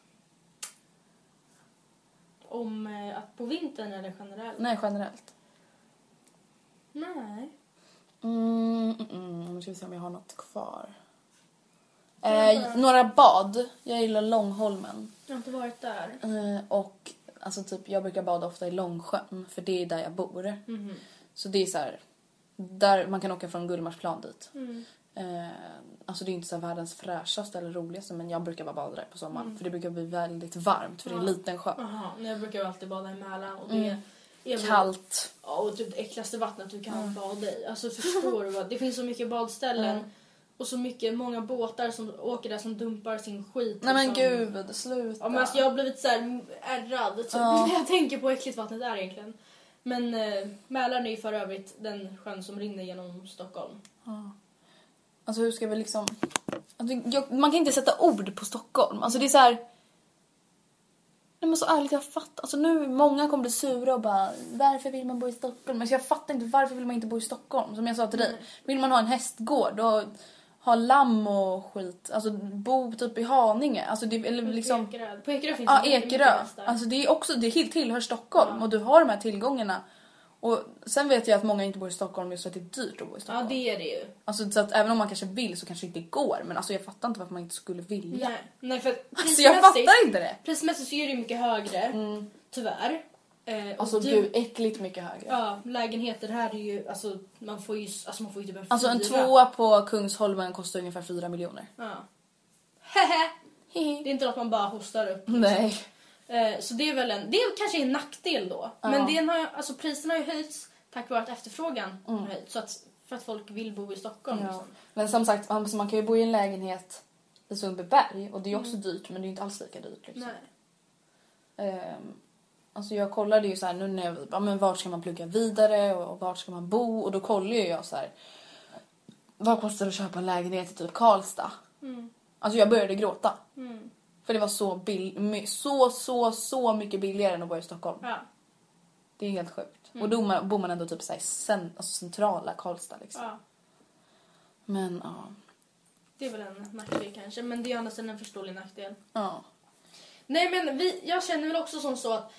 [SPEAKER 4] Om eh, att på vintern eller generellt?
[SPEAKER 3] Nej, generellt.
[SPEAKER 4] Nej.
[SPEAKER 3] Mm, mm, mm. Nu ska vi se om jag har något kvar. Eh, några bad. Jag gillar Långholmen.
[SPEAKER 4] Jag har inte varit där.
[SPEAKER 3] Eh, och alltså, typ, jag brukar bada ofta i Långsjön för det är där jag bor.
[SPEAKER 4] Mhm.
[SPEAKER 3] Så det är så här, där man kan åka från Gullmarsplan dit.
[SPEAKER 4] Mm.
[SPEAKER 3] Eh, alltså det är inte så här världens fräschaste eller roligaste men jag brukar bara bada där på sommaren
[SPEAKER 4] Mm.
[SPEAKER 3] för det brukar bli väldigt varmt för det är en liten sjö.
[SPEAKER 4] Jaha, men jag brukar ju alltid bada i Mälaren och det är väl-
[SPEAKER 3] Mm. Kallt.
[SPEAKER 4] Ja, och typ det äckligaste vattnet du kan bada i. Alltså förstår du vad? Det finns så mycket badställen och så mycket, många båtar som åker där som dumpar sin skit.
[SPEAKER 3] Nej men
[SPEAKER 4] liksom.
[SPEAKER 3] gud, sluta.
[SPEAKER 4] Ja, men alltså, jag har blivit så här ärrad typ, när jag tänker på hur äckligt vattnet är egentligen. Men eh, Mälaren är ju för övrigt den sjön som rinner genom Stockholm.
[SPEAKER 3] Alltså hur ska vi liksom... Alltså, jag, man kan inte sätta ord på Stockholm. Alltså det är så här... Nej men så ärligt, jag fattar. Alltså nu, många kommer bli sura och bara varför vill man bo i Stockholm? Men jag fattar inte varför vill man inte bo i Stockholm? Som jag sa till
[SPEAKER 4] Mm.
[SPEAKER 3] dig. Vill man ha en hästgård och ha lamm och skit? Alltså bo typ i Haninge? Alltså det, eller liksom...
[SPEAKER 4] På Ekerö, på Ekerö finns
[SPEAKER 3] Ja,
[SPEAKER 4] det mycket- mycket
[SPEAKER 3] Ekerö.
[SPEAKER 4] hästar.
[SPEAKER 3] Alltså det är också, det helt tillhör Stockholm och du har de här tillgångarna. Och sen vet jag att många inte bor i Stockholm just för att det är dyrt att bo i Stockholm.
[SPEAKER 4] ja, det är det ju.
[SPEAKER 3] Alltså så att även om man kanske vill så kanske det inte går. Men alltså jag fattar inte varför man inte skulle vilja.
[SPEAKER 4] Nej, nej för att
[SPEAKER 3] Alltså jag fattar inte det.
[SPEAKER 4] Prismässigt så är det ju mycket högre, tyvärr. Eh, och
[SPEAKER 3] Alltså
[SPEAKER 4] du-
[SPEAKER 3] gud, äckligt mycket högre.
[SPEAKER 4] Ja, lägenheter här är ju, alltså man får ju, alltså man får ju typ en
[SPEAKER 3] Alltså en
[SPEAKER 4] fyra.
[SPEAKER 3] tvåa på Kungsholmen kostar ungefär 4 miljoner.
[SPEAKER 4] Ja. Hehe. det
[SPEAKER 3] Hehe.
[SPEAKER 4] är inte att man bara hostar upp.
[SPEAKER 3] Nej.
[SPEAKER 4] Eh, så det är väl en, det är kanske en nackdel då. Men den har, ju- alltså priserna har ju höjts tack vare att efterfrågan har höjts. Så att, för att folk vill bo i Stockholm
[SPEAKER 3] Mm. Ja.
[SPEAKER 4] liksom.
[SPEAKER 3] Men som sagt, man, så man kan ju bo i en lägenhet i Sundbyberg och det är ju också
[SPEAKER 4] Mm.
[SPEAKER 3] dyrt men det är ju inte alls lika dyrt. Liksom.
[SPEAKER 4] Nej.
[SPEAKER 3] Ehm, alltså jag kollade ju så här nu när jag, ja, men vart ska man plugga vidare och, och vart ska man bo och då kollade ju jag så här. Vad kostar det att köpa en lägenhet i typ Karlstad?
[SPEAKER 4] Mm.
[SPEAKER 3] Alltså jag började gråta. För det var så, bill- my- så, så, så mycket billigare än att bo i Stockholm.
[SPEAKER 4] Ja. Mm.
[SPEAKER 3] Det är helt sjukt. Och då man, bor man ändå typ så här i cen- alltså centrala Karlstad liksom.
[SPEAKER 4] ja.
[SPEAKER 3] Men ja.
[SPEAKER 4] Det är väl en nackdel kanske. Men det är ju annars en förståelig nackdel.
[SPEAKER 3] ja.
[SPEAKER 4] Nej men vi, jag känner väl också som så att,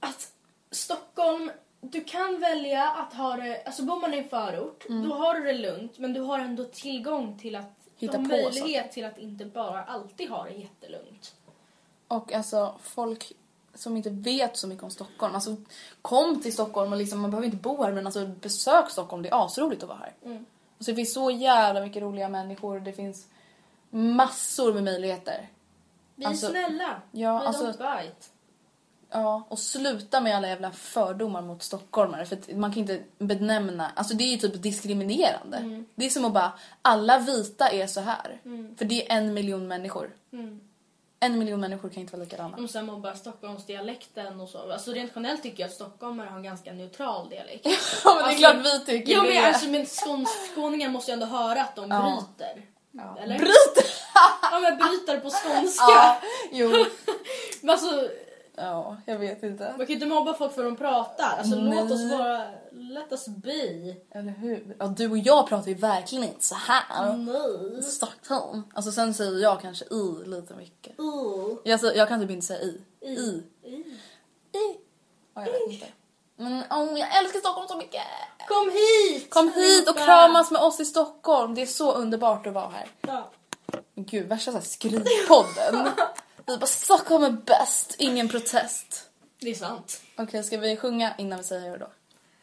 [SPEAKER 4] att Stockholm, du kan välja
[SPEAKER 3] Mm.
[SPEAKER 4] att ha det, alltså bor man i en förort, då har du det lugnt men du har ändå tillgång till att
[SPEAKER 3] hitta
[SPEAKER 4] de
[SPEAKER 3] på
[SPEAKER 4] möjlighet
[SPEAKER 3] saker.
[SPEAKER 4] till att inte bara alltid ha det jättelugnt.
[SPEAKER 3] Och alltså folk som inte vet så mycket om Stockholm. Alltså kom till Stockholm och liksom, man behöver inte bo här men alltså besök Stockholm. Det är asroligt att vara här. Alltså, det finns så jävla mycket roliga människor. Det finns massor med möjligheter.
[SPEAKER 4] Vi
[SPEAKER 3] Alltså-
[SPEAKER 4] är snälla.
[SPEAKER 3] Ja,
[SPEAKER 4] vi
[SPEAKER 3] alltså-
[SPEAKER 4] don't bite.
[SPEAKER 3] Ja, och sluta med alla jävla fördomar mot stockholmare. För att man kan inte benämna... Alltså det är ju typ diskriminerande. Det är som att bara, alla vita är så här. För det är en miljon människor. En miljon människor kan inte vara likadana.
[SPEAKER 4] Och sen mobbar Stockholmsdialekten och så. Alltså rent generellt tycker jag att stockholmare har en ganska neutral dialekt. Alltså,
[SPEAKER 3] Ja, men det är klart vi tycker
[SPEAKER 4] ja,
[SPEAKER 3] det.
[SPEAKER 4] Men, alltså, men skåns- skåningar måste ju ändå höra att de bryter. Eller?
[SPEAKER 3] Bryt!
[SPEAKER 4] Ja men bryter på skånska.
[SPEAKER 3] ja, jo.
[SPEAKER 4] Men alltså,
[SPEAKER 3] Ja, jag vet inte.
[SPEAKER 4] man kan ju inte mobba folk för de pratar. Alltså låt
[SPEAKER 3] Nej.
[SPEAKER 4] oss vara, let us be.
[SPEAKER 3] Eller hur? Ja, du och jag pratar ju verkligen inte så här.
[SPEAKER 4] Nej.
[SPEAKER 3] Stockholm. Alltså sen säger jag kanske i lite mycket.
[SPEAKER 4] Uh.
[SPEAKER 3] Jag, alltså, jag kan typ inte säga i. I. I. Ja, jag vet inte. Men åh, jag älskar Stockholm så mycket!
[SPEAKER 4] Kom hit!
[SPEAKER 3] Kom hit och
[SPEAKER 4] Lisa.
[SPEAKER 3] kramas med oss i Stockholm. Det är så underbart att vara här.
[SPEAKER 4] Ja.
[SPEAKER 3] Men Gud, värsta så här skrivpodden. Vi bara Stockholm är bäst, ingen protest.
[SPEAKER 4] Det är sant.
[SPEAKER 3] Okej, ska vi sjunga innan vi säger hur då?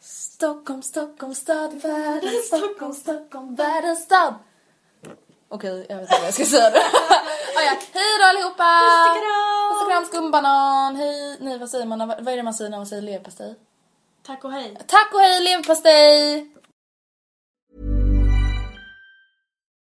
[SPEAKER 3] Stockholm, Stockholm, stad, världens Stockholm, Stockholm, världens stad. Okej, jag vet inte vad jag ska säga nu. ah, ja. Hej då allihopa!
[SPEAKER 4] Puss och kram!
[SPEAKER 3] Puss och kram, skumbanan! Hej! Nej, vad säger man? Vad är det man säger när man säger leverpastej?
[SPEAKER 4] Tack och hej.
[SPEAKER 3] Tack och hej leverpastej!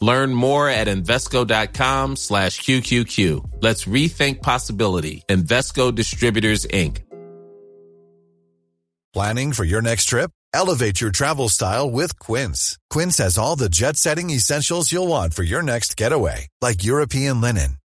[SPEAKER 6] Learn more at Invesco.com slash QQQ. Let's rethink possibility. Invesco Distributors, Inc.
[SPEAKER 7] Planning for your next trip? Elevate your travel style with Quince. Quince has all the jet setting essentials you'll want for your next getaway, like European linen,